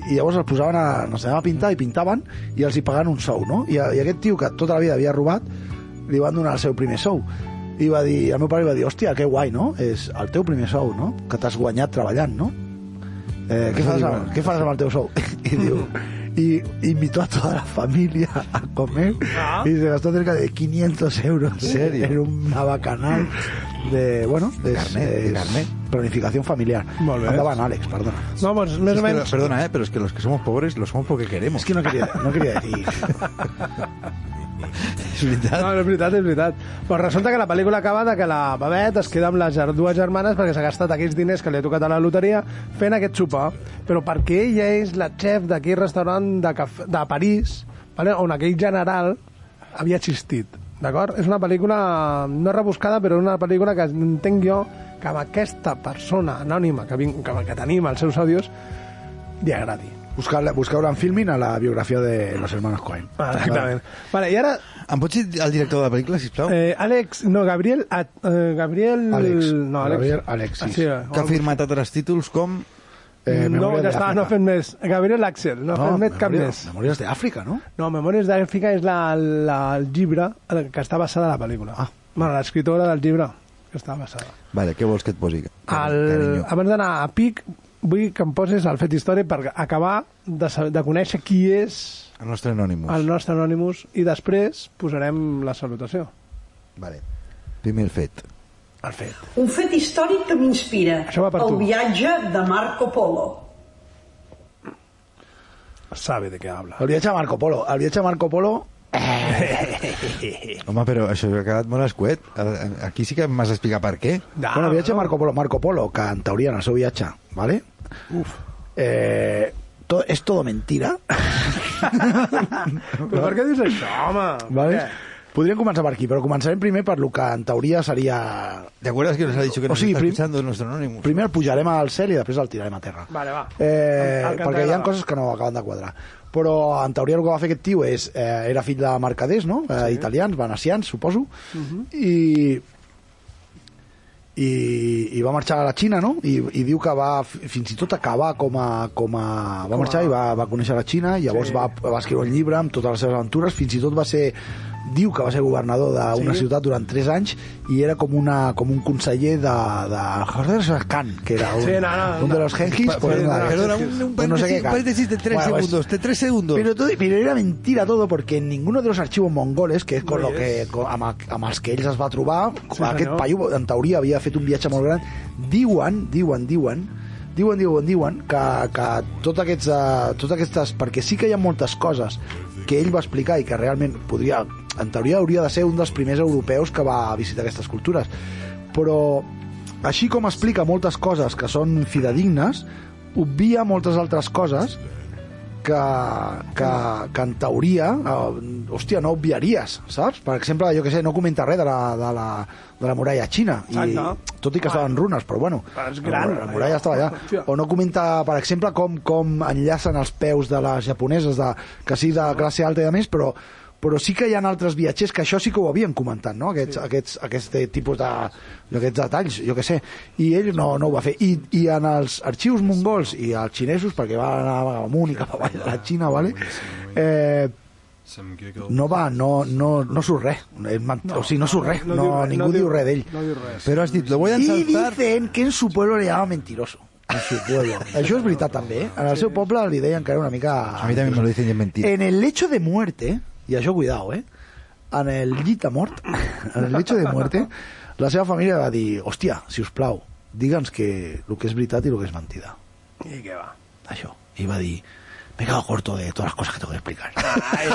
[SPEAKER 7] i llavors els posaven a, no sé, a pintar i pintaven i els hi pagaven un sou, no? I, a- I aquest tio que tota la vida havia robat li van donar el seu primer sou i va dir, el meu pare va dir, hòstia, que guai, no? És el teu primer sou, no? Que t'has guanyat treballant, no? Eh, què, fas amb, què fas amb el teu (laughs) sou? I diu, y invitó a toda la familia a comer
[SPEAKER 6] Ah.
[SPEAKER 7] y se gastó cerca de 500 euros en, un bacanal de, bueno, de
[SPEAKER 8] Carnet, de carnet.
[SPEAKER 7] planificación familiar.
[SPEAKER 8] Molt bé.
[SPEAKER 7] Andaban Alex, perdona.
[SPEAKER 6] No, pues més
[SPEAKER 8] Es
[SPEAKER 6] o
[SPEAKER 8] que,
[SPEAKER 6] menys...
[SPEAKER 8] perdona, eh, pero es que los que somos pobres lo somos porque queremos. Es
[SPEAKER 7] que no quería, no
[SPEAKER 8] (laughs)
[SPEAKER 7] quería decir.
[SPEAKER 6] És veritat. Ah, No, no, és veritat, és veritat. Però resulta que la pel·lícula acaba de que la Babet es queda amb les ger- dues germanes perquè s'ha gastat aquells diners que li ha tocat a la loteria fent aquest sopar. Però perquè ella és la chef d'aquell restaurant de, caf... de París, vale? on aquell general havia existit. D'acord? És una pel·lícula no rebuscada, però una pel·lícula que entenc jo que amb aquesta persona anònima que, vin... que, que tenim als seus àudios li agradi.
[SPEAKER 7] Buscar, buscar en filming a la biografía de los hermanos Cohen.
[SPEAKER 6] Ah, exactament. Vale, i ara...
[SPEAKER 8] Em pots dir el director de la pel·lícula, sisplau?
[SPEAKER 6] Eh, Àlex, no, Gabriel... A, eh, Gabriel...
[SPEAKER 8] Àlex.
[SPEAKER 6] No, Àlex.
[SPEAKER 8] Gabriel Alexis.
[SPEAKER 6] Ah, sí,
[SPEAKER 8] que ha firmat altres títols com...
[SPEAKER 7] Eh,
[SPEAKER 6] no, ja està, no fem més. Gabriel Axel, no, no fem més cap més.
[SPEAKER 7] Memòries d'Àfrica, no?
[SPEAKER 6] No, Memòries d'Àfrica és la, la, el llibre en el que està basada la pel·lícula. Ah. Bueno, l'escriptora del llibre que està basada.
[SPEAKER 8] Vale, què vols que et posi?
[SPEAKER 6] El, abans d'anar a Pic, vull que em poses el fet històric per acabar de, saber, de conèixer qui és
[SPEAKER 8] El nostre anònimo.
[SPEAKER 6] el nostre Anonymous i després posarem la salutació.
[SPEAKER 8] Vale. Primer el fet.
[SPEAKER 6] El fet.
[SPEAKER 9] Un fet històric que m'inspira.
[SPEAKER 6] Això va per
[SPEAKER 9] El
[SPEAKER 6] tu.
[SPEAKER 9] viatge de Marco Polo.
[SPEAKER 6] Sabe de què habla.
[SPEAKER 7] El viatge a Marco Polo. El viatge a Marco Polo...
[SPEAKER 8] (laughs) Home, però això ha quedat molt escuet. Ara, Aquí sí que m'has d'explicar per què.
[SPEAKER 7] No, bueno, viatge a Marco Polo, Marco Polo, que en teoria en el seu viatge, ¿vale? Uf. Eh, to, és todo
[SPEAKER 6] (laughs)
[SPEAKER 7] mentira.
[SPEAKER 6] Però per què dius això, home? Eh.
[SPEAKER 7] ¿vale? Podríem començar per aquí, però començarem primer per lo que en teoria seria...
[SPEAKER 8] ¿Te acuerdas que nos ha dicho que
[SPEAKER 7] O
[SPEAKER 8] nos
[SPEAKER 7] sigui,
[SPEAKER 8] está
[SPEAKER 7] prim-
[SPEAKER 8] escuchando nuestro anónimo?
[SPEAKER 7] Primer el pujarem al cel i després el tirarem a terra.
[SPEAKER 6] Vale, va.
[SPEAKER 7] Eh,
[SPEAKER 6] El que
[SPEAKER 7] perquè hi ha
[SPEAKER 6] t'agrada.
[SPEAKER 7] coses que no acaben de quadrar. Però en teoria el que va fer aquest tio és... Eh, era fill de mercaders, no? Eh, sí. Italians, venecians, suposo.
[SPEAKER 6] Mhm.
[SPEAKER 7] I, i, i va marxar a la Xina, no? I, i diu que va fi- fins i tot acabar com a... Com a va marxar i va, va conèixer la Xina, i llavors
[SPEAKER 6] Sí.
[SPEAKER 7] sí. va, va escriure un llibre amb totes les seves aventures, fins i tot va ser diu que va ser governador d'una
[SPEAKER 6] Sí.
[SPEAKER 7] sí. ciutat durant 3 anys i era com, una, com un conseller de, de José Rosas Khan, que era un,
[SPEAKER 6] Sí, no, no,
[SPEAKER 7] un
[SPEAKER 6] no.
[SPEAKER 7] de los genghis.
[SPEAKER 8] Pa-
[SPEAKER 7] pues,
[SPEAKER 8] perdona,
[SPEAKER 7] nada,
[SPEAKER 8] perdona, un- un
[SPEAKER 7] pues no sé qué
[SPEAKER 8] paréntesis-
[SPEAKER 7] Khan.
[SPEAKER 8] paréntesis de tres
[SPEAKER 7] pues,
[SPEAKER 8] segundos, de tres segundos.
[SPEAKER 7] Pero, todo- pero era mentira todo, porque en ninguno de los archivos mongoles, que és con lo que, con, amb, amb els que ells es va trobar,
[SPEAKER 6] Sí,
[SPEAKER 7] sí, aquest
[SPEAKER 6] senyor.
[SPEAKER 7] paio, en teoria, havia fet un viatge molt gran. Diuen, diuen, diuen, diuen, diuen, diuen, que, que tot aquests, eh, totes aquestes... Perquè sí que hi ha moltes coses que ell va explicar i que realment podria... En teoria hauria de ser un dels primers europeus que va visitar aquestes cultures. Però, així com explica moltes coses que són fidedignes, obvia moltes altres coses que, que, que en teoria eh, hòstia, no obviaries, saps? Per exemple, jo que sé, no comenta res de la, de la, de la muralla xina i,
[SPEAKER 6] Exacte.
[SPEAKER 7] tot i que estava en runes, però bueno
[SPEAKER 6] Però Ah. és gran,
[SPEAKER 7] la, la muralla
[SPEAKER 6] allò.
[SPEAKER 7] estava allà
[SPEAKER 6] Hòstia.
[SPEAKER 7] o no comenta, per exemple, com, com enllacen els peus de les japoneses de, que sí de classe alta i de més, però però sí que hi ha altres viatgers que això sí que ho havien comentat, no? Aquests, sí. aquests, aquest tipus de... aquests detalls, jo que sé. I ell no, no ho va fer. I, I en els arxius mongols i els xinesos, perquè va anar amunt i cap avall de la Xina, vale? eh, no va, no, no, no surt res. És ment- o sigui, no surt res.
[SPEAKER 6] no
[SPEAKER 7] No,
[SPEAKER 6] diu res,
[SPEAKER 7] ningú
[SPEAKER 6] no diu-
[SPEAKER 7] diu res d'ell.
[SPEAKER 6] no diu res.
[SPEAKER 8] Però has dit, lo voy a
[SPEAKER 7] I
[SPEAKER 8] ensalzar...
[SPEAKER 7] dicen que en su pueblo le llama mentiroso. En su pueblo. (laughs) Això és veritat també, eh? En el seu poble li deien que era una mica...
[SPEAKER 8] A mí también me lo dicen y es mentira.
[SPEAKER 7] En el lecho de muerte, i això cuidao, eh? En el llit de mort, en el lecho de muerte, la seva família va dir, hòstia, si us plau, digue'ns que el que és veritat i el que és mentida.
[SPEAKER 6] I què va?
[SPEAKER 7] Això. I va dir, me he quedado corto de todas las cosas que tengo que explicar. (laughs)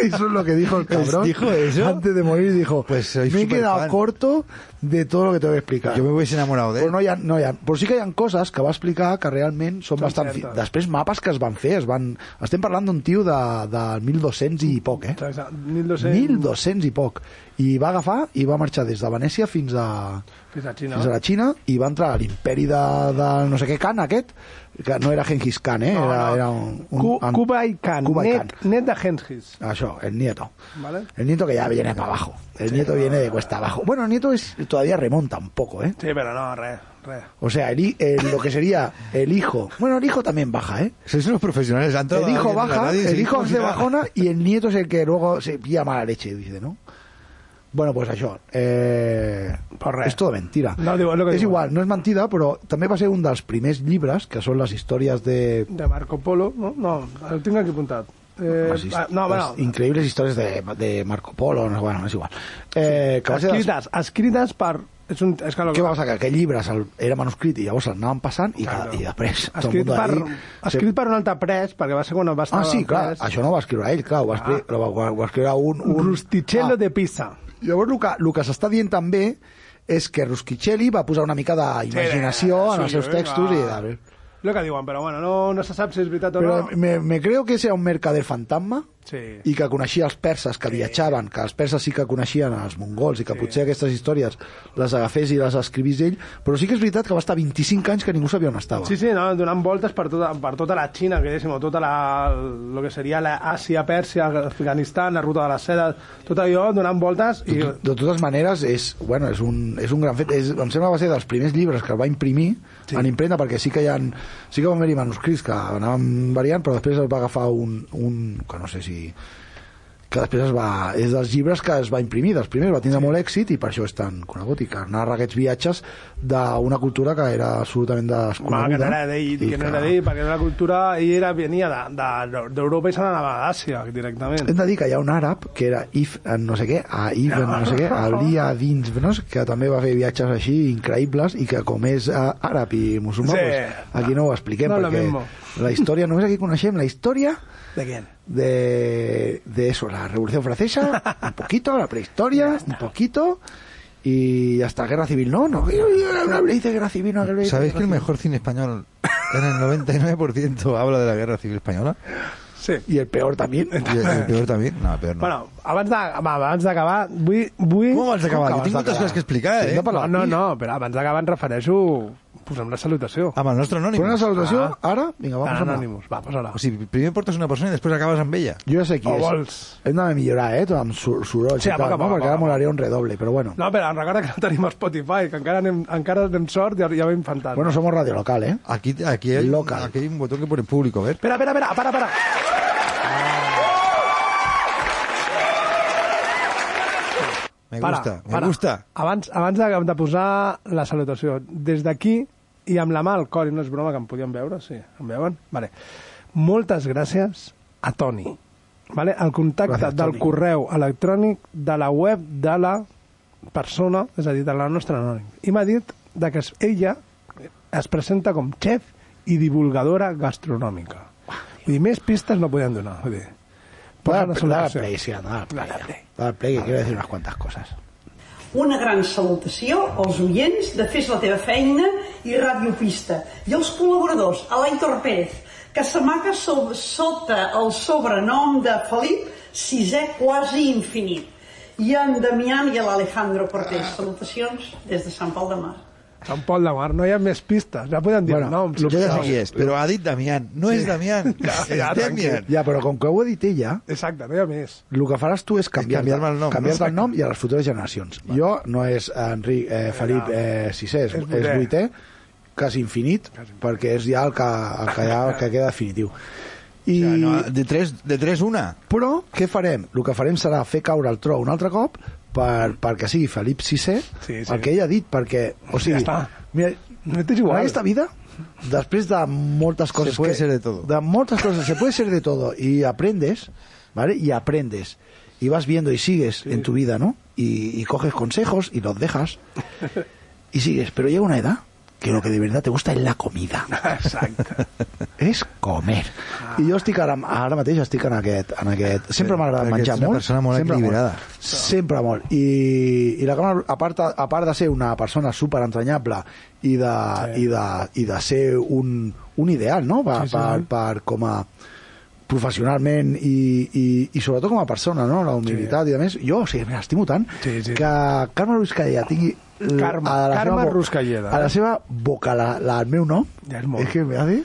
[SPEAKER 7] Eso es lo que dijo el cabrón.
[SPEAKER 8] ¿Dijo eso?
[SPEAKER 7] Antes de morir dijo,
[SPEAKER 8] Pues soy
[SPEAKER 7] me he quedado
[SPEAKER 8] superfan.
[SPEAKER 7] corto de todo lo que tengo que explicar.
[SPEAKER 8] Yo me hubiese enamorado de
[SPEAKER 7] Però
[SPEAKER 8] él.
[SPEAKER 7] no hi ha, no hi ha. Però sí que hi ha coses que va explicar que realment són, bastant... Fi...
[SPEAKER 6] certes.
[SPEAKER 7] Després mapes que es van fer, es van... Estem parlant d'un tio de, de 1.200 i poc, eh?
[SPEAKER 6] Exacte, 1200...
[SPEAKER 7] 1.200 i poc. I va agafar i va marxar des de Venècia fins a,
[SPEAKER 6] Fins a Xina.
[SPEAKER 7] fins a la Xina i va entrar a l'imperi de, de no sé què can aquest que no era Genghis Khan, eh? Era, era un... un
[SPEAKER 6] Ku-
[SPEAKER 7] an-
[SPEAKER 6] Kublai Khan,
[SPEAKER 7] Kublai
[SPEAKER 6] net,
[SPEAKER 7] Khan.
[SPEAKER 6] net de Genghis.
[SPEAKER 7] Això, el nieto.
[SPEAKER 6] ¿Vale?
[SPEAKER 7] El nieto que ya viene para abajo. El nieto viene de cuesta abajo. Bueno, el nieto es, todavía remonta un poco, ¿eh?
[SPEAKER 6] Sí, pero no, re, re.
[SPEAKER 7] O sea, el, hi- el- lo que sería el hijo. Bueno, el hijo también baja, ¿eh?
[SPEAKER 8] Sois unos profesionales. Han
[SPEAKER 7] El
[SPEAKER 8] trabajado bien
[SPEAKER 7] hijo
[SPEAKER 8] en la
[SPEAKER 7] baja,
[SPEAKER 8] radio y
[SPEAKER 7] el
[SPEAKER 8] seguís
[SPEAKER 7] hijo
[SPEAKER 8] como
[SPEAKER 7] es
[SPEAKER 8] si
[SPEAKER 7] de
[SPEAKER 8] nada.
[SPEAKER 7] bajona y el nieto es el que luego se pilla mala leche, dice, ¿no? Bueno, pues això. Eh, és tota mentira.
[SPEAKER 6] No, diu, és el que
[SPEAKER 7] és
[SPEAKER 6] diu.
[SPEAKER 7] igual, no és mentida, però també va ser un dels primers llibres, que són les històries de...
[SPEAKER 6] De Marco Polo, no? No, el tinc aquí apuntat. Eh,
[SPEAKER 7] les,
[SPEAKER 6] ah,
[SPEAKER 7] hist-
[SPEAKER 6] no, bueno,
[SPEAKER 7] les increïbles històries de, de Marco Polo, no, bueno, és igual. Eh, que va ser dels
[SPEAKER 6] escrites, escrites per... És un, és que lo-
[SPEAKER 7] Què va passar? Que aquest llibre se'l- era manuscrit i llavors l'anaven passant i, cada, i després tot el
[SPEAKER 6] escrit
[SPEAKER 7] món
[SPEAKER 6] per,
[SPEAKER 7] allí...
[SPEAKER 6] escrit per un altre pres, perquè va ser quan va estar...
[SPEAKER 7] Ah, sí, clar,
[SPEAKER 6] pres.
[SPEAKER 7] això no ho va escriure ell, clar, ho va escriure, ah. ho va, ho va escriure un... un... Ah.
[SPEAKER 6] Rusticello de Pisa.
[SPEAKER 7] Llavors, el que, el que s'està dient també és que Rusticelli va posar una mica d'imaginació
[SPEAKER 6] Sí,
[SPEAKER 7] en els seus
[SPEAKER 6] vinga.
[SPEAKER 7] textos i... de-
[SPEAKER 6] Lo que diuen, però bueno, no, no se sap si és veritat o
[SPEAKER 7] Però
[SPEAKER 6] no.
[SPEAKER 7] me, me creo que sea un mercader fantasma
[SPEAKER 6] Sí.
[SPEAKER 7] i que coneixia els perses que viatjaven, que els perses sí que coneixien els mongols i que potser aquestes històries les agafés i les escrivís ell, però sí que és veritat que va estar 25 anys que ningú sabia on estava.
[SPEAKER 6] Sí, sí, no, donant voltes per tota, per tota la Xina, que diguéssim, o tota la, lo que seria l'Àsia, Pèrsia, Afganistan, la ruta de la seda, tot allò donant voltes i...
[SPEAKER 7] De totes maneres, és, bueno, és, un, és un gran fet. És, em sembla que va ser dels primers llibres que el va imprimir sí. en imprenta, perquè sí que hi ha, sí que van haver-hi manuscrits que anaven variant, però després el va agafar un, un que no sé si que després es va, és dels llibres que es va imprimir, dels primers, va tindre sí. molt èxit i per això és tan conegut, i que narra aquests viatges d'una cultura que era absolutament
[SPEAKER 6] Va, que no
[SPEAKER 7] desconeguda.
[SPEAKER 6] era d'ell,
[SPEAKER 7] i
[SPEAKER 6] que no era d'ell, perquè era la cultura, ell era, venia de- de- d'Europa de, i se n'anava a Àsia, directament.
[SPEAKER 7] Hem de dir que hi ha un àrab que era If, en no sé què, a Ibn, no, sé què,
[SPEAKER 6] (laughs)
[SPEAKER 7] a Lia Dins, no? sé, que també va fer viatges així increïbles i que com és eh, àrab i musulmà,
[SPEAKER 6] Sí.
[SPEAKER 7] pues, aquí no ho expliquem,
[SPEAKER 6] No, lo mismo.
[SPEAKER 7] perquè la història, només aquí coneixem la història
[SPEAKER 6] De què?
[SPEAKER 7] de, de eso, la Revolució Francesa, un poquito, la
[SPEAKER 6] (laughs)
[SPEAKER 7] prehistoria, un poquito, y hasta Guerra Civil, no, no, yo- yo- yo hablé de Guerra Civil, no, hablé de
[SPEAKER 8] ¿Sabéis que
[SPEAKER 7] Guerra
[SPEAKER 8] el
[SPEAKER 7] Civil.
[SPEAKER 8] mejor cine español en el 99% habla de la Guerra Civil Española?
[SPEAKER 6] Sí.
[SPEAKER 7] Y el peor también.
[SPEAKER 8] ¿Y el, peor también? No, el peor no.
[SPEAKER 6] (laughs) Bueno, abans de- va, abans d'acabar, vull, vull...
[SPEAKER 8] Com abans d'acabar?
[SPEAKER 6] Com
[SPEAKER 8] Jo tinc moltes
[SPEAKER 6] d'acabar?
[SPEAKER 8] coses que explicar, eh?
[SPEAKER 6] No, no, no, però abans d'acabar em refereixo... Posem la salutació.
[SPEAKER 8] Amb Ah, el nostre anònim.
[SPEAKER 6] Posem la salutació,
[SPEAKER 7] ara? Vinga,
[SPEAKER 6] va,
[SPEAKER 8] vamos
[SPEAKER 6] posem-la. Anònimus, va, posa-la.
[SPEAKER 8] O sigui, primer portes una persona i després acabes amb ella.
[SPEAKER 7] Jo ja sé qui
[SPEAKER 8] O
[SPEAKER 7] és.
[SPEAKER 8] vols?
[SPEAKER 7] Hem de millorar, eh, tot amb sor- sorolls
[SPEAKER 6] Sí,
[SPEAKER 7] i
[SPEAKER 6] va,
[SPEAKER 7] tal,
[SPEAKER 6] va,
[SPEAKER 7] no?
[SPEAKER 6] va,
[SPEAKER 7] perquè
[SPEAKER 6] va,
[SPEAKER 7] ara
[SPEAKER 6] va.
[SPEAKER 7] molaria un redoble, però bueno.
[SPEAKER 6] No, però recorda que no tenim Spotify, que encara anem, encara anem sort i ja, ja vam fantant.
[SPEAKER 7] Bueno, somos radio local, ¿eh?
[SPEAKER 8] Aquí, aquí, hay, aquí hay un botón que pone público, ¿ver?
[SPEAKER 6] Espera, espera, espera, para, para.
[SPEAKER 8] Me
[SPEAKER 6] Para,
[SPEAKER 8] gusta, me
[SPEAKER 6] para.
[SPEAKER 8] gusta.
[SPEAKER 6] Abans, abans de, de posar la salutació, des d'aquí i amb la mà al cor, i no és broma que em podien veure, sí, em veuen? Vale. Moltes gràcies a Toni. Vale? El contacte
[SPEAKER 7] Gràcies,
[SPEAKER 6] gràcies, del
[SPEAKER 7] Toni.
[SPEAKER 6] correu electrònic de la web de la persona, és a dir, de la nostra anònim. I m'ha dit de que es- ella es presenta com chef i divulgadora gastronòmica. Vull dir, més pistes no podem donar. Vull dir, posa
[SPEAKER 7] Dale,
[SPEAKER 6] la
[SPEAKER 7] al- dale al
[SPEAKER 6] solució.
[SPEAKER 7] play, sí, dale al play. Dale al play, que quiero decir unas cuantas cosas.
[SPEAKER 9] Una gran salutació als oients de Fes la teva feina i Radio Pista i als col·laboradors, a l'Aitor Pérez, que s'amaga so sota el sobrenom de Felip sisè quasi infinit, i a en Damián i a l'Alejandro Cortés. Salutacions des de Sant Pol de Mar.
[SPEAKER 6] Sant Pol de Mar, no hi ha més pistes. Ja podem dir bueno, noms.
[SPEAKER 8] Yo ya sé
[SPEAKER 6] opcions.
[SPEAKER 8] quién es, pero Adit Damián. No es (laughs) Damián, es Damián.
[SPEAKER 7] Ja, però com que ho he dit ella,
[SPEAKER 6] Exacte, no hi ha més.
[SPEAKER 7] el que faràs tu és canviar-te
[SPEAKER 8] canviar-me el nom,
[SPEAKER 7] canviar
[SPEAKER 8] no?
[SPEAKER 7] el nom i a les futures generacions. Jo no és Enric eh, Felip eh, VI, és,
[SPEAKER 6] És vuitè.
[SPEAKER 7] és vuitè, quasi infinit, perquè és ja el que, el que, ja, el que queda definitiu. I...
[SPEAKER 8] Ah, no, de, tres, de tres una.
[SPEAKER 7] Però què farem? El que farem serà fer caure el tro un altre cop per, perquè sigui Felip VI, sí,
[SPEAKER 6] sí.
[SPEAKER 7] el que ell ha dit, perquè... O sigui,
[SPEAKER 6] Ja està.
[SPEAKER 7] Mira,
[SPEAKER 6] no igual.
[SPEAKER 7] En aquesta vida, després de moltes coses...
[SPEAKER 8] puede
[SPEAKER 7] que-
[SPEAKER 8] ser de todo.
[SPEAKER 7] De moltes coses, se puede ser de todo. Y aprendes, ¿vale? Y aprendes. Y vas viendo y sigues en tu vida, ¿no? Y, y coges consejos y
[SPEAKER 8] (laughs)
[SPEAKER 7] los dejas. Y sigues. Pero llega una edad que lo que de verdad te gusta es la comida.
[SPEAKER 6] Exacte.
[SPEAKER 7] és comer. I jo estic ara, ara mateix estic en aquest... En aquest. Sempre m'ha agradat
[SPEAKER 8] perquè
[SPEAKER 7] menjar
[SPEAKER 8] ets una
[SPEAKER 7] molt.
[SPEAKER 8] persona molt
[SPEAKER 7] sempre
[SPEAKER 8] equilibrada.
[SPEAKER 7] Molt, sempre molt. I, i la Carme, a part, a part de ser una persona super entranyable i de, sí. i de, i de ser un, un ideal, no? Per,
[SPEAKER 6] Sí,
[SPEAKER 7] sí, sí.
[SPEAKER 6] sí.
[SPEAKER 7] per, per com a professionalment i, i, i sobretot com a persona, no? la humilitat sí. i a més, jo o sigui, me l'estimo tant sí, sí. que Carme Ruscalleda tingui l-
[SPEAKER 6] Carme-
[SPEAKER 7] a la
[SPEAKER 6] Carme
[SPEAKER 7] seva bo-
[SPEAKER 6] Ruscalleda.
[SPEAKER 7] a la seva boca la, la, el meu nom
[SPEAKER 6] Ja és molt.
[SPEAKER 7] és que me hace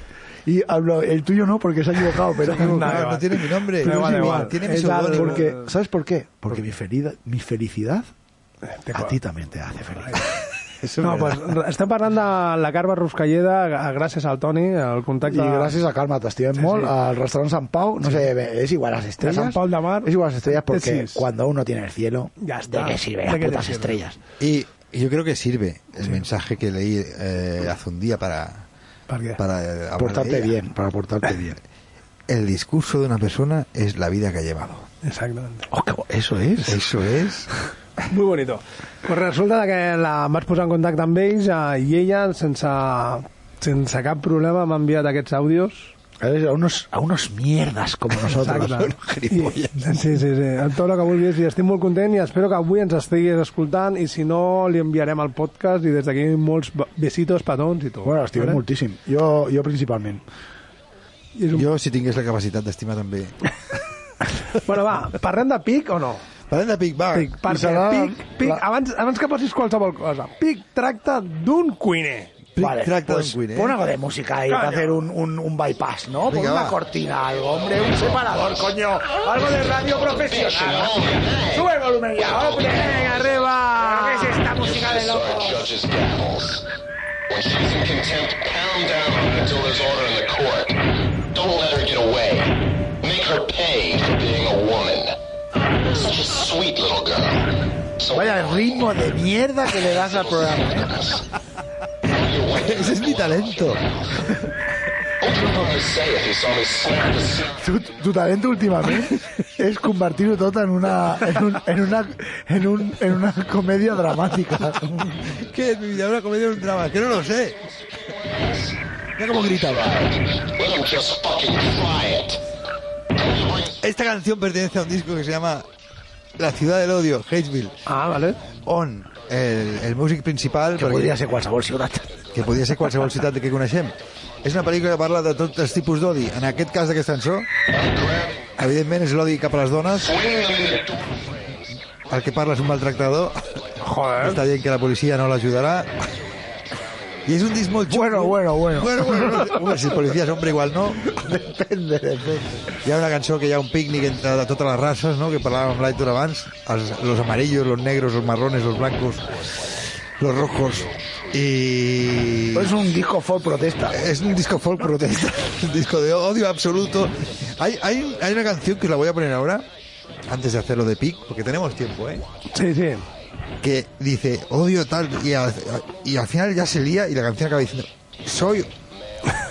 [SPEAKER 7] Y hablo, el tuyo no, porque se ha equivocado,
[SPEAKER 6] (laughs)
[SPEAKER 7] pero.
[SPEAKER 8] (laughs)
[SPEAKER 7] "Ah,
[SPEAKER 8] No, no, no tiene mi nombre.
[SPEAKER 7] Pero
[SPEAKER 8] No,
[SPEAKER 7] es
[SPEAKER 8] vale,
[SPEAKER 7] igual.
[SPEAKER 8] vale. Tiene mi
[SPEAKER 7] Es
[SPEAKER 8] seudónimo.
[SPEAKER 7] porque- ¿Sabes por qué? Porque mi, ferida, mi felicidad a ti también te hace feliz. (laughs)
[SPEAKER 6] No, pues re- estem parlant de la Carme Ruscalleda a- gràcies al Toni, al contacte...
[SPEAKER 7] I gràcies a Carme, t'estimem molt. Al restaurant Sant Pau, no sé, es igual a las estrellas.
[SPEAKER 6] San Pau de Mar.
[SPEAKER 7] Es igual a las estrellas porque
[SPEAKER 6] Tesis.
[SPEAKER 7] cuando uno tiene el cielo,
[SPEAKER 6] Ya
[SPEAKER 7] ¿de
[SPEAKER 6] está.
[SPEAKER 7] qué sirven
[SPEAKER 6] ¿De
[SPEAKER 7] las
[SPEAKER 6] qué te
[SPEAKER 7] putas
[SPEAKER 6] sirve?
[SPEAKER 7] estrellas?
[SPEAKER 8] Y yo creo que sirve el mensaje que leí eh, hace un día para...
[SPEAKER 6] ¿Para qué?
[SPEAKER 8] Para eh, hablar
[SPEAKER 7] Portarte
[SPEAKER 8] de ella.
[SPEAKER 7] bien, para
[SPEAKER 8] (laughs)
[SPEAKER 7] portarte bien.
[SPEAKER 8] El discurso de una persona es la vida que ha llevado.
[SPEAKER 6] Exactamente.
[SPEAKER 7] Oh, qué bo- eso es.
[SPEAKER 8] Eso es.
[SPEAKER 6] Muy bonito. Pues resulta que la em vaig posar en contacte amb ells eh, i ella, sense, sense cap problema, m'ha enviat aquests àudios.
[SPEAKER 7] A unos, a unos mierdas como nosotros. (laughs)
[SPEAKER 6] Exacte. I- Sí, sí, sí. Amb tot el que vulguis. I estic molt content i espero que avui ens estiguis escoltant i si no, li enviarem el podcast i des d'aquí molts be- besitos, petons i tot.
[SPEAKER 7] Bueno, l'estimem moltíssim. Jo, jo principalment.
[SPEAKER 8] Jo, si tingués la capacitat d'estimar
[SPEAKER 7] (laughs)
[SPEAKER 8] també...
[SPEAKER 6] Bueno, va, parlem de pic o no?
[SPEAKER 8] Parlem de pic, va.
[SPEAKER 6] Pic, perquè
[SPEAKER 8] serà
[SPEAKER 6] pic, pic,
[SPEAKER 8] la-
[SPEAKER 6] abans, abans que posis qualsevol cosa, pic tracta d'un cuiner.
[SPEAKER 8] Pic tracta eh? d'un cuiner.
[SPEAKER 7] Pon algo de música ahí para hacer un, un, un bypass, ¿no? Pon
[SPEAKER 8] Venga,
[SPEAKER 7] una
[SPEAKER 8] va.
[SPEAKER 7] cortina, algo, hombre, un separador, coño. Algo de radio profesional. Sube el volumen ya, hombre. Venga, arriba. ¿Qué es esta música de loco?
[SPEAKER 17] Don't let her get away. Make her pay for being a woman. Such a sweet little girl. So
[SPEAKER 7] Vaya ritmo de mierda que le das al programa.
[SPEAKER 8] (laughs) Ese es mi talento.
[SPEAKER 17] what would Homer say if he saw me slap the seat
[SPEAKER 7] Tu, tu talento últimamente es convertirlo todo en una, en, un- en una, en, un, en una comedia dramática.
[SPEAKER 8] ¿Qué es mi vida? ¿Una comedia o un drama? Que no lo sé. Mira cómo gritaba.
[SPEAKER 17] Let him just fucking try it.
[SPEAKER 8] Esta canción pertenece a un disco que se llama La ciudad del odio, Hateville.
[SPEAKER 6] Ah, vale.
[SPEAKER 8] On, el, el músic principal...
[SPEAKER 7] Que podria ser qualsevol ciutat.
[SPEAKER 8] Que podria ser qualsevol ciutat que coneixem. És una pel·lícula que parla de tots els tipus d'odi. En aquest cas d'aquesta cançó, evidentment és l'odi cap a les dones. El que parla és un maltractador. Joder. Està dient que la policia no l'ajudarà. I és un disc molt xulo.
[SPEAKER 7] Bueno, bueno, bueno.
[SPEAKER 8] Bueno, bueno, no. Home, si el policia és hombre igual no.
[SPEAKER 7] Depende, depende.
[SPEAKER 8] Hi ha una cançó que hi ha un pícnic entre de totes les races, no?, que parlàvem amb l'Aitor abans, els, los amarillos, los negros, los marrones, los blancos, los rojos, i...
[SPEAKER 7] Es un disco folk protesta.
[SPEAKER 8] Es un disco folk
[SPEAKER 7] (laughs)
[SPEAKER 8] protesta, un disco de odio absoluto. Hay, hay, hay una canción que os la voy a poner ahora, antes de hacerlo de pic, porque tenemos tiempo, ¿eh?
[SPEAKER 6] Sí, sí.
[SPEAKER 8] Que dice, odio tal, y al, y al final ya se lía y la canción acaba diciendo, soy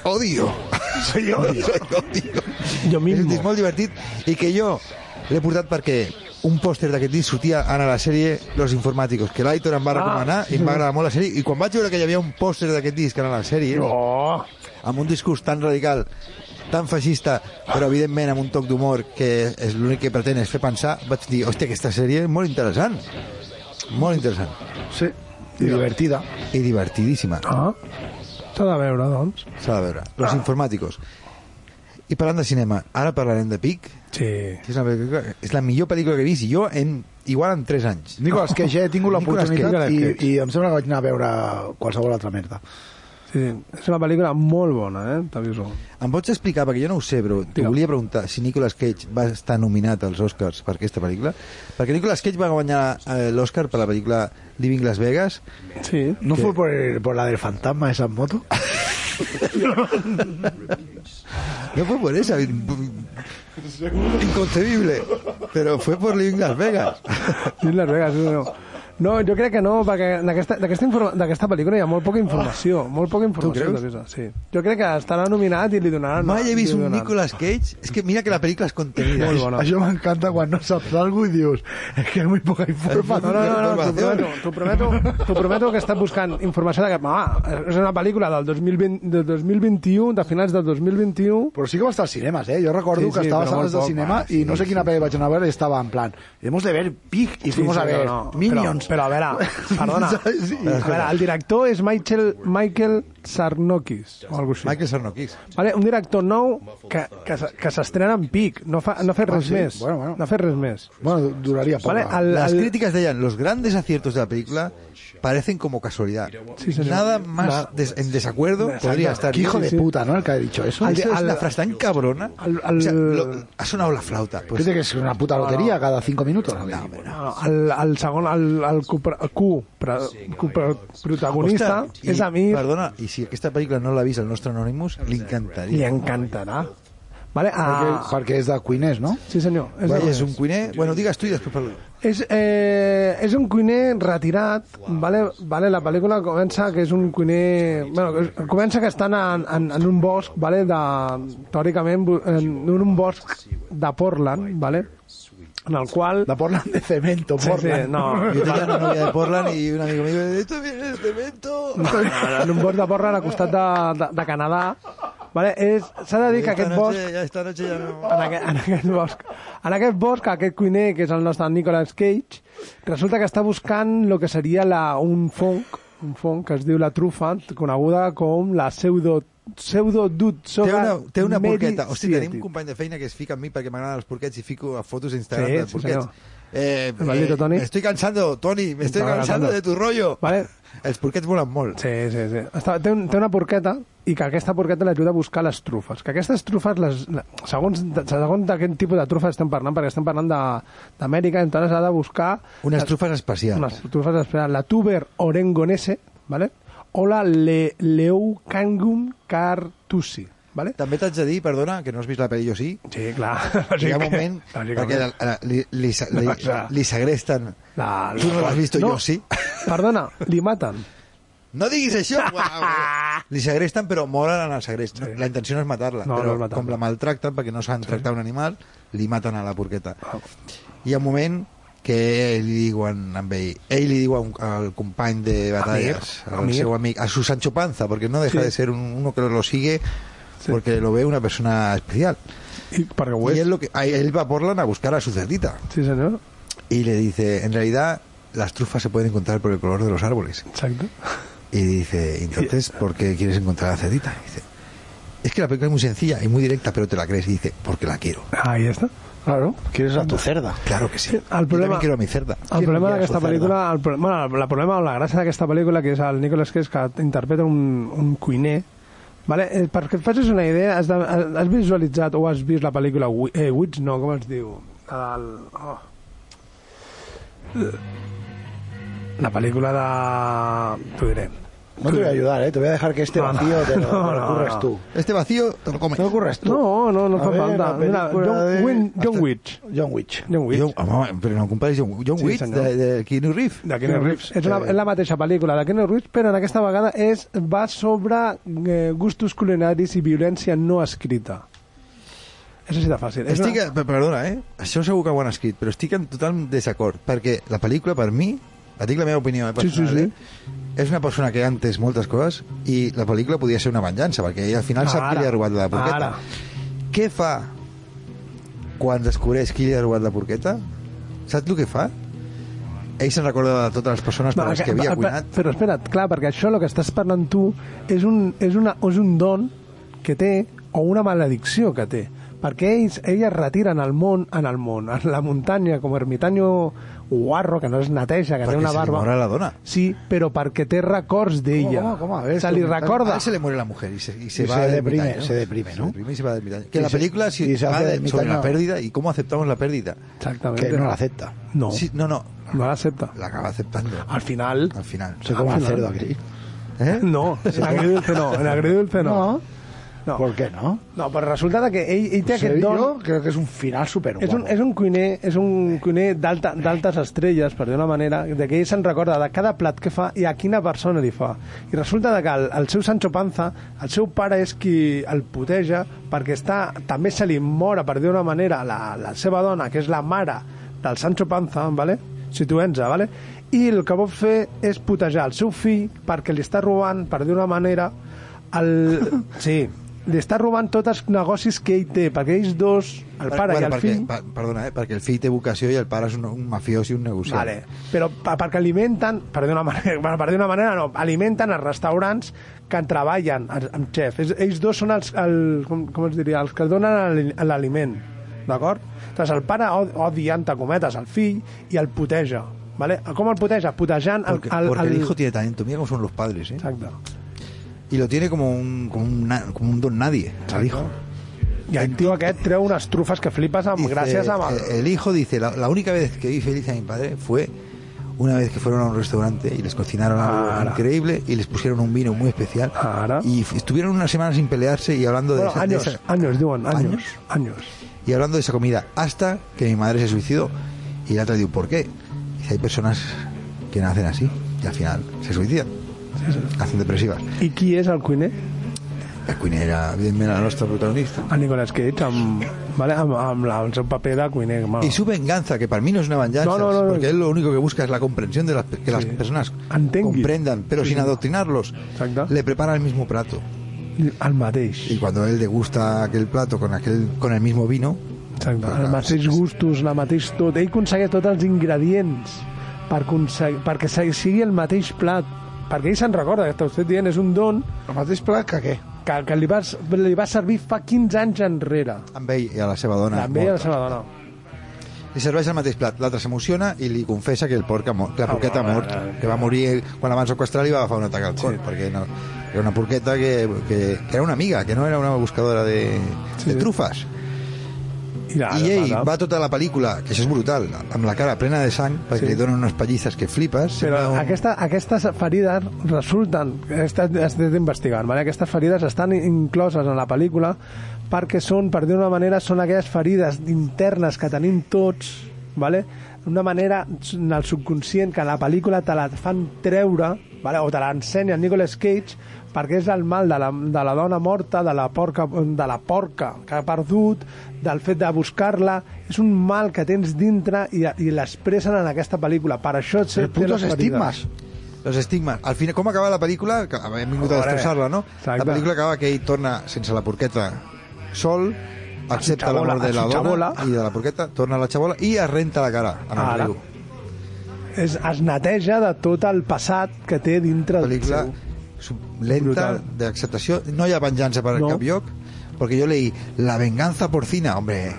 [SPEAKER 8] odio. (laughs) soy odio. soy odio.
[SPEAKER 6] Jo
[SPEAKER 8] És un
[SPEAKER 6] mismo.
[SPEAKER 8] disc molt divertit i que jo l'he portat perquè un pòster d'aquest disc sortia en la sèrie Los Informàticos, que l'Aitor em va recomanar i em va agradar molt la sèrie, i quan vaig veure que hi havia un pòster d'aquest disc en la sèrie,
[SPEAKER 6] Oh,
[SPEAKER 8] amb un discurs tan radical, tan feixista, però evidentment amb un toc d'humor que és l'únic que pretén és fer pensar, vaig dir, hòstia, aquesta sèrie és molt interessant. Molt interessant.
[SPEAKER 7] Sí. I divertida.
[SPEAKER 8] I divertidíssima.
[SPEAKER 6] Ah, s'ha de veure, doncs.
[SPEAKER 8] S'ha de veure. Los Informàticos. I parlant de cinema, ara parlarem de Pic,
[SPEAKER 6] Sí.
[SPEAKER 8] que és, una pel·lícula, és la millor pel·lícula que he vist, i jo en, igual en 3 anys.
[SPEAKER 7] Nicolas Cage, eh? he tingut
[SPEAKER 8] Nicolas
[SPEAKER 7] l'oportunitat
[SPEAKER 8] Cage.
[SPEAKER 7] i, i em sembla que vaig anar a veure qualsevol altra merda.
[SPEAKER 6] Sí, és una pel·lícula molt bona, eh? T'aviso.
[SPEAKER 8] Em pots explicar, perquè jo no ho sé, però t'ho
[SPEAKER 6] Digue'm.
[SPEAKER 8] volia preguntar, si Nicolas Cage va estar nominat als Oscars per aquesta pel·lícula? Perquè Nicolas Cage va guanyar eh, l'Oscar per la pel·lícula Living Las Vegas.
[SPEAKER 6] Sí.
[SPEAKER 7] ¿No fue por, el- por la del fantasma de esas motos?
[SPEAKER 8] No fue por esa,
[SPEAKER 6] (laughs)
[SPEAKER 8] inconcebible, pero fue por Living Las Vegas.
[SPEAKER 6] (laughs) Sí, Las Vegas, sí, no. No, jo crec que no, perquè d'aquesta d'aquesta informa- d'aquesta pel·lícula hi ha molt poca informació, molt poca informació.
[SPEAKER 8] Ah. creus?
[SPEAKER 6] t'aviso, Sí. Jo crec que estarà nominat i li donaran...
[SPEAKER 8] Mai he vist
[SPEAKER 6] li
[SPEAKER 8] un
[SPEAKER 6] donaran.
[SPEAKER 8] Nicolas Cage... És que mira que la pel·lícula és contenida.
[SPEAKER 6] Molt
[SPEAKER 7] Bueno.
[SPEAKER 6] bona.
[SPEAKER 7] Això m'encanta quan no saps alguna i dius és que hay muy poca
[SPEAKER 6] No,
[SPEAKER 7] informació.
[SPEAKER 6] no, no, no
[SPEAKER 8] Información.
[SPEAKER 6] t'ho prometo, t'ho prometo, t'ho prometo que estàs buscant informació de que... Ah, és una pel·lícula del 2020, de 2021, de finals del 2021,
[SPEAKER 7] Però sí que va estar als cinemes, eh? Jo recordo
[SPEAKER 6] Sí,
[SPEAKER 7] que
[SPEAKER 6] sí,
[SPEAKER 7] estava a
[SPEAKER 6] però
[SPEAKER 7] sales de
[SPEAKER 6] molt poc.
[SPEAKER 7] cinema
[SPEAKER 6] Ah,
[SPEAKER 7] i no sé quina pel·li vaig anar a veure i estava en plan hemos de ver Pig i fuimos a
[SPEAKER 6] sí,
[SPEAKER 7] ver
[SPEAKER 6] no, no.
[SPEAKER 7] Minions.
[SPEAKER 8] (laughs)
[SPEAKER 6] Però, però a veure, perdona.
[SPEAKER 7] Sí.
[SPEAKER 6] A veure, el director és Michael, Michael Sarnokis o alguna cosa així.
[SPEAKER 8] Michael Sarnokis.
[SPEAKER 6] Vale, un director nou que, que, se- que s'estrena en pic, no fa, no ha fet
[SPEAKER 8] Ah,
[SPEAKER 6] res
[SPEAKER 8] sí?
[SPEAKER 6] més.
[SPEAKER 8] Bueno,
[SPEAKER 6] No ha fet res més.
[SPEAKER 7] Bueno, duraría poco.
[SPEAKER 6] Vale, al-
[SPEAKER 8] Las
[SPEAKER 6] al-
[SPEAKER 8] críticas decían, los grandes aciertos de la película parecen como casualidad.
[SPEAKER 7] señor.
[SPEAKER 8] Nada más
[SPEAKER 7] Nada.
[SPEAKER 8] des- en desacuerdo podría estar.
[SPEAKER 7] Qué hijo de
[SPEAKER 8] Sí, sí.
[SPEAKER 7] puta, ¿no? El que ha dicho eso.
[SPEAKER 8] Al- al- la frase tan cabrona. O sea, lo- ha sonado la flauta. Pues,
[SPEAKER 7] Dice que es una puta lotería cada cinco minutos.
[SPEAKER 6] No, el, el segon, el, el copra- Q, pre- copra- protagonista,
[SPEAKER 8] Ostres,
[SPEAKER 6] és
[SPEAKER 8] i,
[SPEAKER 6] Amir.
[SPEAKER 8] Perdona, y si aquesta película no l'ha vist el nostre Anonymous, li encantaria.
[SPEAKER 6] Li encantarà. Vale,
[SPEAKER 7] Perquè,
[SPEAKER 6] a...
[SPEAKER 7] perquè és de cuiners, no?
[SPEAKER 6] Sí, senyor. És,
[SPEAKER 8] Bueno,
[SPEAKER 6] de-
[SPEAKER 8] és un cuiner... Bueno, digues tu i després parlo.
[SPEAKER 6] És, eh, és un cuiner retirat, vale, vale, la pel·lícula comença que és un cuiner... Bueno, que- comença que estan en, en, en un bosc, vale, de, teòricament, bu- en, en un bosc de Portland, vale, en el qual...
[SPEAKER 7] De Portland de cemento,
[SPEAKER 6] Sí, sí,
[SPEAKER 7] Portland.
[SPEAKER 6] no. (laughs)
[SPEAKER 8] Jo tenia una novia de Portland i un amic meu em diu, "Esto viene de cemento".
[SPEAKER 6] No, en un bosc de Portland al costat de, de, de Canadà, vale, és- s'ha de dir que
[SPEAKER 8] Esta
[SPEAKER 6] aquest
[SPEAKER 8] noche-
[SPEAKER 6] bosc
[SPEAKER 8] ja- Esta noche ya
[SPEAKER 6] (laughs)
[SPEAKER 8] no...
[SPEAKER 6] en aquest, en aquest bosc. En aquest bosc, aquest cuiner, que és el nostre Nicolas Cage, resulta que està buscant lo que seria la, un fong, un fong que es diu la trufa, coneguda com la pseudo pseudo
[SPEAKER 8] Té
[SPEAKER 6] dutsoga
[SPEAKER 8] una, té una
[SPEAKER 6] medi-
[SPEAKER 8] porqueta. Hosti, tenim
[SPEAKER 6] sieti.
[SPEAKER 8] un company de feina que es fica amb mi perquè m'agraden els porquets i fico a fotos a Instagram
[SPEAKER 6] Sí,
[SPEAKER 8] dels
[SPEAKER 6] sí,
[SPEAKER 8] porquets.
[SPEAKER 6] senyor.
[SPEAKER 8] Eh,
[SPEAKER 6] El maldito Toni.
[SPEAKER 8] Me estoy cansando, Toni, me estoy
[SPEAKER 6] Estava
[SPEAKER 8] cansando
[SPEAKER 6] agradant.
[SPEAKER 8] de tu rollo.
[SPEAKER 6] Vale?
[SPEAKER 8] Els porquets volen molt.
[SPEAKER 6] Sí, sí, sí. Està, té, un, té una porqueta i que aquesta porqueta l'ajuda a buscar les trufes. Que aquestes trufes, les, la- segons, de- segons de quin tipus de trufes estem parlant, perquè estem parlant de- d'Amèrica, entonces ha de buscar...
[SPEAKER 8] Unes
[SPEAKER 6] les-
[SPEAKER 8] trufes especials.
[SPEAKER 6] Unes trufes especials. La tuber orengonese, ¿vale? o la le, leucangum cartusi. ¿vale?
[SPEAKER 8] També t'haig de dir, perdona, que no has vist la pel·li, jo sí.
[SPEAKER 6] Sí, clar. (laughs)
[SPEAKER 8] Hi ha un moment perquè la, la, li, li, li,
[SPEAKER 6] No, (laughs) clar.
[SPEAKER 8] li segresten.
[SPEAKER 6] La-
[SPEAKER 8] tu no l'has vist,
[SPEAKER 6] No.
[SPEAKER 8] jo sí.
[SPEAKER 6] Perdona, li maten.
[SPEAKER 8] No diguis
[SPEAKER 6] (laughs)
[SPEAKER 8] això! Uau. eh. Li segresten, però moren en el segrest. No, la intenció no és matar-la,
[SPEAKER 6] No, no
[SPEAKER 8] però
[SPEAKER 6] és matar-la.
[SPEAKER 8] com la maltracten, perquè no saben tractar un animal, li maten a la porqueta. Hi ha un moment que li diuen amb ell, ell li diu a un- al company de batallas,
[SPEAKER 6] Amigo,
[SPEAKER 8] al
[SPEAKER 6] amigo.
[SPEAKER 8] seu amic, a su Sancho Panza, porque no deja
[SPEAKER 6] Sí.
[SPEAKER 8] de ser un- uno que lo sigue porque lo ve una persona especial.
[SPEAKER 6] I, perquè ho
[SPEAKER 8] Y
[SPEAKER 6] és.
[SPEAKER 8] él, lo que, a- él va a Portland a buscar a su cerdita.
[SPEAKER 6] Sí, senyor.
[SPEAKER 8] Y le dice, en realidad las trufas se pueden encontrar por el color de los árboles.
[SPEAKER 6] Exacto.
[SPEAKER 8] Y dice, entonces, ¿por qué quieres encontrar a la cerdita? Y dice, es que la película es muy sencilla y muy directa, pero te la crees. Y dice, porque la quiero.
[SPEAKER 6] Ahí está. Claro.
[SPEAKER 7] Quieres a tu cerda.
[SPEAKER 8] Claro que sí.
[SPEAKER 6] El
[SPEAKER 8] Yo
[SPEAKER 6] problema,
[SPEAKER 8] también quiero a mi cerda.
[SPEAKER 6] El problema
[SPEAKER 8] Quiero
[SPEAKER 6] d'aquesta
[SPEAKER 8] a su cerda.
[SPEAKER 6] pel·lícula, el, pro- bueno, el problema o la gràcia d'aquesta pel·lícula, que és el Nicolas Cage, que interpreta un, un cuiner, vale? Eh, perquè et facis una idea, has, de, has visualitzat o has vist la pel·lícula Wi- eh, Witch, no, com es diu? El, oh. La pel·lícula de... T'ho diré.
[SPEAKER 7] No te voy a ayudar, ¿eh? Te voy a dejar que este
[SPEAKER 6] No, no.
[SPEAKER 7] vacío te lo, te lo
[SPEAKER 6] (laughs) No, no,
[SPEAKER 7] curres
[SPEAKER 6] no.
[SPEAKER 7] tú.
[SPEAKER 8] Este vacío te lo comes.
[SPEAKER 7] Te lo curres tú.
[SPEAKER 6] No, no, no
[SPEAKER 7] A
[SPEAKER 6] fa
[SPEAKER 7] ver,
[SPEAKER 6] falta.
[SPEAKER 7] la
[SPEAKER 6] Mira,
[SPEAKER 7] película
[SPEAKER 6] John,
[SPEAKER 7] de-
[SPEAKER 6] Win- John Witch.
[SPEAKER 7] John Witch.
[SPEAKER 6] John Witch.
[SPEAKER 8] John- home, però no comparis John, John
[SPEAKER 6] Sí,
[SPEAKER 8] Wick
[SPEAKER 6] senyor.
[SPEAKER 8] de, de Keanu Reeves.
[SPEAKER 6] De Keanu Reeves. Eh. És la, és la mateixa pel·lícula de Keanu Reeves, però en aquesta vegada és, va sobre eh, gustos culinaris i violència no escrita. És així de fàcil. És
[SPEAKER 8] Estic, per- perdona, eh? Això segur que ho han escrit, però estic en total desacord, perquè la pel·lícula, per mi, et dic la meva opinió eh,
[SPEAKER 6] Sí,
[SPEAKER 8] personal,
[SPEAKER 6] sí, sí.
[SPEAKER 8] Eh? és una persona que ha entès moltes coses i la pel·lícula podia ser una venjança, perquè ell al final sap
[SPEAKER 6] Ara.
[SPEAKER 8] qui li ha robat la porqueta.
[SPEAKER 6] Ara.
[SPEAKER 8] Què fa quan descobreix qui li ha robat la porqueta? Saps el que fa? Ell se'n recorda de totes les persones per
[SPEAKER 6] Va,
[SPEAKER 8] les que
[SPEAKER 6] va,
[SPEAKER 8] havia
[SPEAKER 6] va,
[SPEAKER 8] cuinat.
[SPEAKER 6] Però espera't, clar, perquè això el que estàs parlant tu és un, és una, és un don que té o una maledicció que té perquè ells, ell es retira en el món, en el món, en la muntanya, com a ermitanyo guarro, que no es neteja, que
[SPEAKER 8] Perquè
[SPEAKER 6] té
[SPEAKER 8] se
[SPEAKER 6] una
[SPEAKER 8] li
[SPEAKER 6] barba.
[SPEAKER 8] mora la dona.
[SPEAKER 6] Sí, però perquè té records d'ella.
[SPEAKER 7] ¿Cómo, cómo? A ver,
[SPEAKER 6] se li
[SPEAKER 7] ermitaño.
[SPEAKER 6] recorda.
[SPEAKER 8] A él se le muere la mujer y se, y se
[SPEAKER 7] Y
[SPEAKER 8] va
[SPEAKER 7] se
[SPEAKER 8] de
[SPEAKER 7] deprime,
[SPEAKER 8] ermitaño.
[SPEAKER 7] se deprime, ¿no?
[SPEAKER 8] Se deprime y se va de ermitaño. Que
[SPEAKER 7] Y
[SPEAKER 8] la
[SPEAKER 7] se-
[SPEAKER 8] película si
[SPEAKER 7] y se
[SPEAKER 8] va
[SPEAKER 7] hace
[SPEAKER 8] de-
[SPEAKER 7] ermitaño.
[SPEAKER 8] sobre la pérdida y cómo aceptamos la pérdida.
[SPEAKER 6] Exactament.
[SPEAKER 7] Que no la acepta.
[SPEAKER 6] No, Ah,
[SPEAKER 8] Sí, no, no,
[SPEAKER 6] no l'accepta.
[SPEAKER 8] la acaba aceptando
[SPEAKER 6] Al final...
[SPEAKER 8] al final.
[SPEAKER 7] Se come
[SPEAKER 6] Ah,
[SPEAKER 7] al
[SPEAKER 6] no.
[SPEAKER 7] cerdo aquí.
[SPEAKER 8] ¿Eh?
[SPEAKER 6] (laughs) No, en agridulce no, en agridulce no. No,
[SPEAKER 7] ¿Por qué no?
[SPEAKER 6] no però resulta de que ell, ell té
[SPEAKER 7] Se-
[SPEAKER 6] aquest
[SPEAKER 7] Yo
[SPEAKER 6] don...
[SPEAKER 7] creo que es un final súper
[SPEAKER 6] És un, és un cuiner, és un cuiner d'alta- d'altes estrelles, per dir una manera, de que ell se'n recorda de cada plat que fa i a quina persona li fa. I resulta de que el, el seu Sancho Panza, el seu pare és qui el puteja perquè està, també se li mora, per dir una manera, la, la seva dona, que és la mare del Sancho Panza, vale? situem-se, vale? i el que pot fer és putejar el seu fill perquè li està robant, per dir una manera, el... Sí, li està robant tots els negocis que ell té, perquè ells dos, el
[SPEAKER 8] Per-
[SPEAKER 6] pare
[SPEAKER 8] bueno,
[SPEAKER 6] i el
[SPEAKER 8] perquè,
[SPEAKER 6] fill...
[SPEAKER 8] pa- perdona, eh, perquè el fill té vocació i el pare és un, un mafiós i un negociant.
[SPEAKER 6] Vale. Però pa- perquè alimenten, per dir una manera, (laughs) bueno, per dir una manera no, alimenten els restaurants que en treballen els- amb xef. És, ells dos són els, el, com, com es diria, els que donen l'ali- l'aliment, d'acord? Llavors el pare od- odia, entre cometes, el fill i el puteja. Vale? Com el puteja? Putejant el,
[SPEAKER 8] Porque,
[SPEAKER 6] el,
[SPEAKER 8] porque el
[SPEAKER 6] el-
[SPEAKER 8] hijo tiene talento. Mira cómo son los padres, ¿eh?
[SPEAKER 6] Exacto.
[SPEAKER 8] Y lo tiene como un, como un, na- como un don nadie, al hijo.
[SPEAKER 6] Y el tío que treu unas trufas que flipas a, gracias a...
[SPEAKER 8] Eh, El hijo dice, la, la única vez que vi feliz a mi padre fue una vez que fueron a un restaurante y les cocinaron algo
[SPEAKER 6] Ara.
[SPEAKER 8] increíble y les pusieron un vino muy especial. Y f- estuvieron una semana sin pelearse y hablando
[SPEAKER 6] Bueno,
[SPEAKER 8] de, esa, de
[SPEAKER 6] años,
[SPEAKER 8] esa-
[SPEAKER 6] años, diuen, años,
[SPEAKER 8] Años.
[SPEAKER 6] años.
[SPEAKER 8] y hablando de esa comida hasta que mi madre se suicidó. Y la otra dijo, ¿por qué? Dice, hay personas que nacen así y al final se suicidan. Hacen depresivas.
[SPEAKER 6] I qui és el cuiner?
[SPEAKER 8] El cuiner era, evidentment, el nostre protagonista.
[SPEAKER 6] El Ah, Nicolas Cage, amb, vale, amb, amb la, el seu paper de cuiner. Mal.
[SPEAKER 8] Y su venganza, que para mí no es una venganza,
[SPEAKER 6] No, no, no, no.
[SPEAKER 8] porque él lo único que busca es la comprensión de las, que las personas comprendan, pero
[SPEAKER 6] Sí,
[SPEAKER 8] sin
[SPEAKER 6] sí.
[SPEAKER 8] adoctrinarlos. Le prepara el mismo plato.
[SPEAKER 6] Al mateix.
[SPEAKER 8] Y cuando él degusta aquel plato con, aquel, con el mismo vino,
[SPEAKER 6] Exacte. Els mateixos gustos, la mateix tot. Ell aconsegueix tots els ingredients per aconseguir, perquè se- sigui el mateix plat. Perquè ell se'n recorda, que t'ho estic dient, és un don... El mateix plat que què? Que, que li, va, li va servir fa 15 anys enrere.
[SPEAKER 8] amb ell i a la seva dona
[SPEAKER 6] També a la
[SPEAKER 8] morta.
[SPEAKER 6] seva dona.
[SPEAKER 8] li serveix el mateix plat. L'altre s'emociona i li confessa que el porc ha
[SPEAKER 6] Ah,
[SPEAKER 8] mort, que la porqueta ha
[SPEAKER 6] home,
[SPEAKER 8] mort, que va morir quan la van sequestrar i va agafar un atac al cor, perquè no, era una porqueta que, que, que era una amiga, que no era una buscadora de, de trufes.
[SPEAKER 6] I,
[SPEAKER 8] I ell va tota la pel·lícula, que això és brutal, amb la cara plena de sang, perquè
[SPEAKER 6] Sí.
[SPEAKER 8] li donen unes pallisses que flipes.
[SPEAKER 6] Però
[SPEAKER 8] sembla un-
[SPEAKER 6] aquesta, aquestes ferides resulten, estan estan investigant, vale? aquestes ferides estan incloses en la pel·lícula perquè són, per dir una manera, són aquelles ferides internes que tenim tots, vale? d'una manera en el subconscient que la pel·lícula te la fan treure vale? o te l'ensenya el Nicolas Cage perquè és el mal de la, de la dona morta, de la, porca, de la porca que ha perdut, del fet de buscar-la, és un mal que tens dintre i, i l'expressen en aquesta pel·lícula. Per això
[SPEAKER 8] El
[SPEAKER 6] té
[SPEAKER 8] putos
[SPEAKER 6] les ferides.
[SPEAKER 8] estigmas. Los estigmas. Al final, com acaba la pel·lícula? Que Hem vingut a
[SPEAKER 6] Joder.
[SPEAKER 8] destrossar-la, no?
[SPEAKER 6] Exacte.
[SPEAKER 8] La pel·lícula acaba que ell torna sense la porqueta sol, accepta la
[SPEAKER 6] xabola,
[SPEAKER 8] mort de
[SPEAKER 6] a
[SPEAKER 8] la
[SPEAKER 6] su
[SPEAKER 8] dona
[SPEAKER 6] xabola.
[SPEAKER 8] i de la porqueta, torna a la xabola i es renta la cara amb el
[SPEAKER 6] Ara.
[SPEAKER 8] riu.
[SPEAKER 6] És, es neteja de tot el passat que té dintre del
[SPEAKER 8] Pel·lícula
[SPEAKER 6] seu.
[SPEAKER 8] Lenta,
[SPEAKER 6] Brutal.
[SPEAKER 8] d'acceptació. No hi ha venjança per
[SPEAKER 6] No.
[SPEAKER 8] cap lloc, perquè jo leí La venganza porcina, hombre.
[SPEAKER 6] Eh,
[SPEAKER 8] no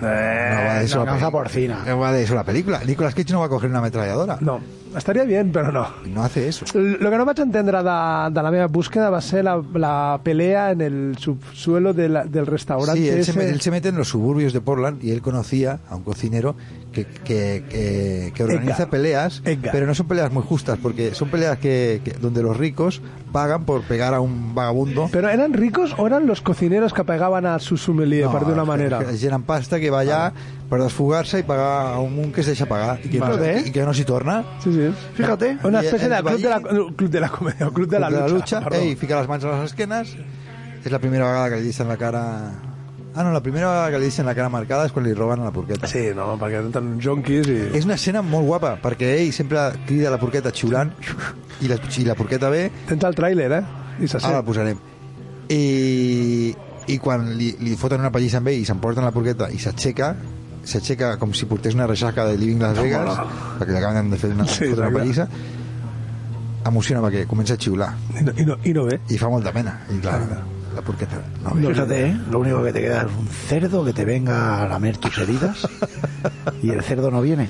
[SPEAKER 8] va de eso la
[SPEAKER 7] venganza
[SPEAKER 8] peli-
[SPEAKER 7] porcina.
[SPEAKER 8] No va de eso la película. Nicolas Cage no va a coger una ametralladora.
[SPEAKER 6] No, estaria bien, però no.
[SPEAKER 8] No hace eso.
[SPEAKER 6] L- Lo que no vaig entendre de, de la meva búsqueda va ser la, la pelea en el subsuelo de la, del restaurante
[SPEAKER 8] Sí, él se,
[SPEAKER 6] ese.
[SPEAKER 8] me- él se mete en los suburbios de Portland y él conocía a un cocinero que, que, que- que organiza
[SPEAKER 6] Edgar.
[SPEAKER 8] peleas,
[SPEAKER 6] Edgar.
[SPEAKER 8] pero no son peleas muy justas, porque son peleas que, que- donde los ricos pagan por pegar a un vagabundo.
[SPEAKER 6] Pero eran ricos o eran los cocineros que pegaban a su sommelier, per dir una manera. Ah.
[SPEAKER 8] Que, que llenan pasta que va allà per desfogar-se i pagar a un que es deixa pagar i que, no,
[SPEAKER 6] Vale.
[SPEAKER 8] i que no s'hi torna.
[SPEAKER 6] Sí, sí.
[SPEAKER 8] Fíjate.
[SPEAKER 6] Una
[SPEAKER 8] Y
[SPEAKER 6] especie
[SPEAKER 8] el
[SPEAKER 6] de club de, la,
[SPEAKER 8] Valle-
[SPEAKER 6] club de la comedia, club de la
[SPEAKER 8] Contra
[SPEAKER 6] lucha. perdó.
[SPEAKER 8] Ei, fica les mans a les esquenes. És la primera vegada que li deixen la cara... Ah, no, la primera vegada que li deixen la cara marcada és quan li roben a la porqueta.
[SPEAKER 6] Sí, no, perquè eren jonquis i...
[SPEAKER 8] És una escena molt guapa, perquè ell sempre crida la porqueta xiulant i la, i la porqueta ve...
[SPEAKER 6] Tens el tràiler, eh? I se sent.
[SPEAKER 8] Ara el posarem. I, i quan li, li foten una pallissa amb ell i s'emporten la porqueta i s'aixeca, s'aixeca com si portés una reixaca de Living Las Vegas,
[SPEAKER 6] Hola.
[SPEAKER 8] perquè li acaben de fer una,
[SPEAKER 6] Sí,
[SPEAKER 8] sí, una
[SPEAKER 6] exacte.
[SPEAKER 8] pallissa, emociona perquè comença a xiular.
[SPEAKER 6] I no, i no, i no ve.
[SPEAKER 8] I fa molta pena. I clar, la porqueta... No, ve.
[SPEAKER 7] Fíjate, ¿eh? lo único que te queda es un cerdo que te venga a lamer tus heridas y el cerdo no viene.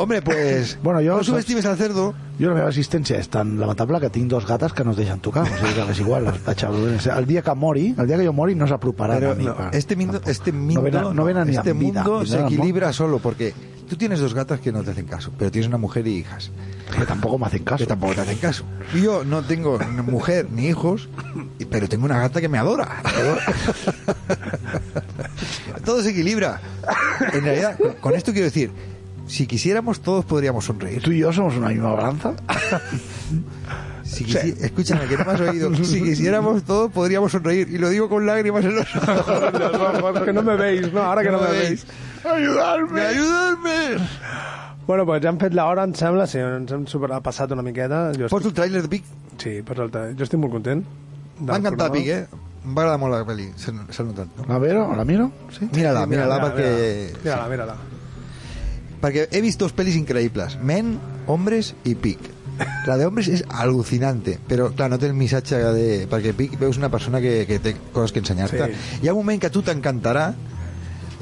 [SPEAKER 8] Hombre, pues...
[SPEAKER 7] Bueno, yo...
[SPEAKER 8] No subestimes al cerdo.
[SPEAKER 7] Jo la meva existència és tan lamentable que tinc dos gates que no es deixen tocar. O sigui, que és igual, les vaig a... veure. El dia que mori, el dia que jo mori, no s'aproparà
[SPEAKER 8] Pero
[SPEAKER 7] a mi.
[SPEAKER 8] no,
[SPEAKER 7] pa.
[SPEAKER 8] este mundo, este mundo,
[SPEAKER 7] ven- Ah, no ven a ni
[SPEAKER 8] este
[SPEAKER 7] a vida,
[SPEAKER 8] mundo
[SPEAKER 7] ni
[SPEAKER 8] se
[SPEAKER 7] nada, ¿no?
[SPEAKER 8] equilibra solo porque tú tienes dos gatas que no te hacen caso, pero tienes una mujer y hijas
[SPEAKER 7] Que tampoco me hacen caso.
[SPEAKER 8] que tampoco te hacen caso. Y yo no tengo ni mujer ni hijos, y- pero tengo una gata que me adora. (laughs) Todo se equilibra. En realidad, con- con esto quiero decir, si quisiéramos todos podríamos sonreír.
[SPEAKER 7] Tú y yo somos una misma balanza.
[SPEAKER 8] Si quisi- Escúchame, que no me has oído. Si quisiéramos todos podríamos sonreír. Y lo digo con lágrimas en los ojos.
[SPEAKER 6] (laughs) que no me veis, no, ara que no, me veis.
[SPEAKER 8] ¡Ayudarme! ¡Ayudarme!
[SPEAKER 6] Bueno, pues ja hem fet l'hora, em sembla, sí, ens hem superpassat una miqueta. Jo
[SPEAKER 8] Pots el tràiler de Vic?
[SPEAKER 6] Sí, pots el tràiler. Jo eh, estic molt content. del
[SPEAKER 8] M'ha encantat
[SPEAKER 6] programa.
[SPEAKER 8] Vic, eh? m'agrada molt la pel·li, s'ha s'ha notat. No?
[SPEAKER 7] La vero? La miro? Sí?
[SPEAKER 8] Mira-la,
[SPEAKER 7] Sí,
[SPEAKER 8] mira-la
[SPEAKER 7] mira-la,
[SPEAKER 8] perquè...
[SPEAKER 7] mira-la. Mira-la,
[SPEAKER 6] mira-la.
[SPEAKER 8] Perquè he vist dos pelis increïbles, Men, Hombres i Pic. La de Hombres és al·lucinante, però clar, no té el missatge de... Perquè Pic veus una persona que, que té coses que ensenyar-te.
[SPEAKER 6] Sí.
[SPEAKER 8] Hi ha un moment que a tu t'encantarà,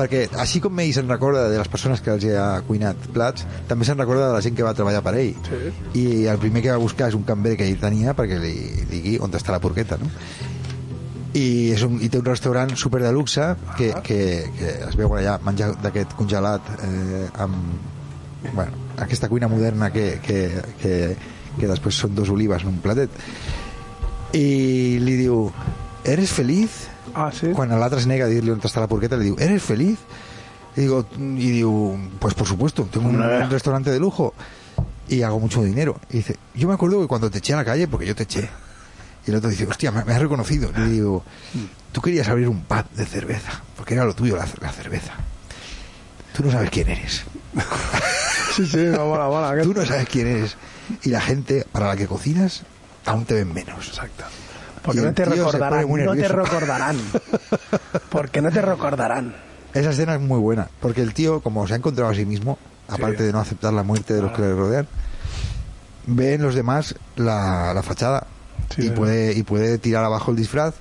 [SPEAKER 8] perquè així com ell se'n recorda de les persones que els hi ha cuinat plats, també se'n recorda de la gent que va treballar per ell.
[SPEAKER 6] Sí.
[SPEAKER 8] I el primer que va buscar és un cambrer que ell tenia perquè li digui on està la porqueta, no? i, és un, i té un restaurant super de luxe que, que, que es veu allà menjar d'aquest congelat eh, amb bueno, aquesta cuina moderna que, que, que, que després són dos olives en un platet i li diu eres feliç?
[SPEAKER 6] Ah, sí?
[SPEAKER 8] quan l'altre es nega a dir-li on està la porqueta li diu eres feliç? i, digo, y digo pues por supuesto tengo un, un restaurante de lujo y hago mucho dinero y dice yo me acuerdo que cuando te eché a la calle porque yo te eché y el otro dice, hostia, me, me has reconocido. Le digo, tú querías abrir un pub de cerveza, porque era lo tuyo, la, la cerveza. Tú no sabes quién eres.
[SPEAKER 6] sí, sí, no, mola, mola.
[SPEAKER 8] Tú no sabes quién eres. Y la gente para la que cocinas aún te ven menos. Exacto.
[SPEAKER 6] Porque no te recordarán, no
[SPEAKER 8] (laughs)
[SPEAKER 6] te recordarán. Porque no te recordarán.
[SPEAKER 8] Esa escena es muy buena, porque el tío, como se ha encontrado a sí Ah. mismo, aparte de no aceptar la muerte de los que le rodean, ve en los demás la, la fachada y, puede, y puede tirar abajo el disfraz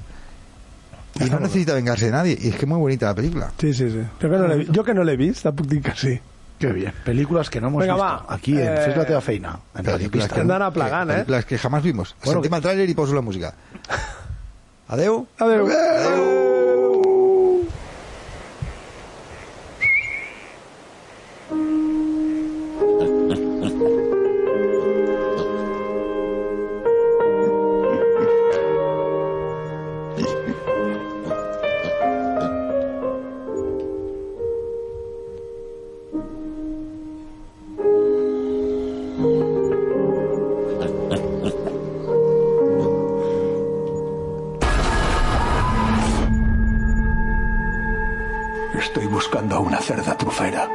[SPEAKER 8] y no necesita vengarse de nadie. Y es que es muy bonita la película.
[SPEAKER 6] Sí, sí, sí. Yo que no l'he jo que no l'he vist, la puc dir que sí.
[SPEAKER 7] Que bien. Películas que no hemos
[SPEAKER 6] Vinga,
[SPEAKER 7] visto.
[SPEAKER 6] va.
[SPEAKER 7] Aquí, en
[SPEAKER 6] Eh,
[SPEAKER 7] Fes la teva feina. En Radio
[SPEAKER 8] Películas
[SPEAKER 7] Pista.
[SPEAKER 8] que, que- películas ¿eh? que jamás vimos.
[SPEAKER 7] Bueno,
[SPEAKER 8] Sentim el tráiler y pauso la música. Adeu.
[SPEAKER 6] Adeu.
[SPEAKER 18] Estoy buscando a una cerda trufera.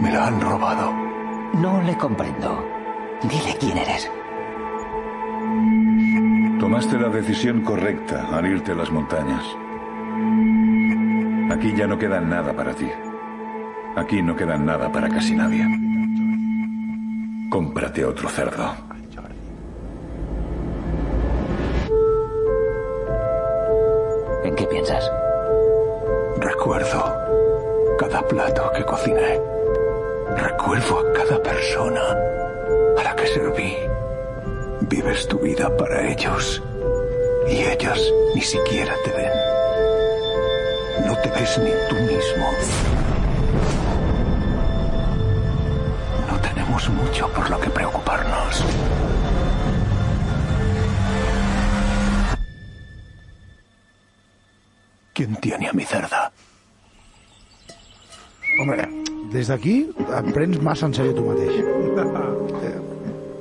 [SPEAKER 18] Me la han robado.
[SPEAKER 14] No le comprendo. Dile quién eres.
[SPEAKER 19] Tomaste la decisión correcta al irte a las montañas. Aquí ya no queda nada para ti. Aquí no queda nada para casi nadie. Cómprate otro cerdo.
[SPEAKER 18] ¿En qué piensas? Recuerdo cada plato que cociné. Recuerdo a cada persona a la que serví. Vives tu vida para ellos. Y ellos ni siquiera te ven. No te ves ni tú mismo. No tenemos mucho por lo que preocuparnos. ¿Quién tiene a mi cerda?
[SPEAKER 7] Hombre, des d'aquí em prens massa en sèrio tu mateix. Eh,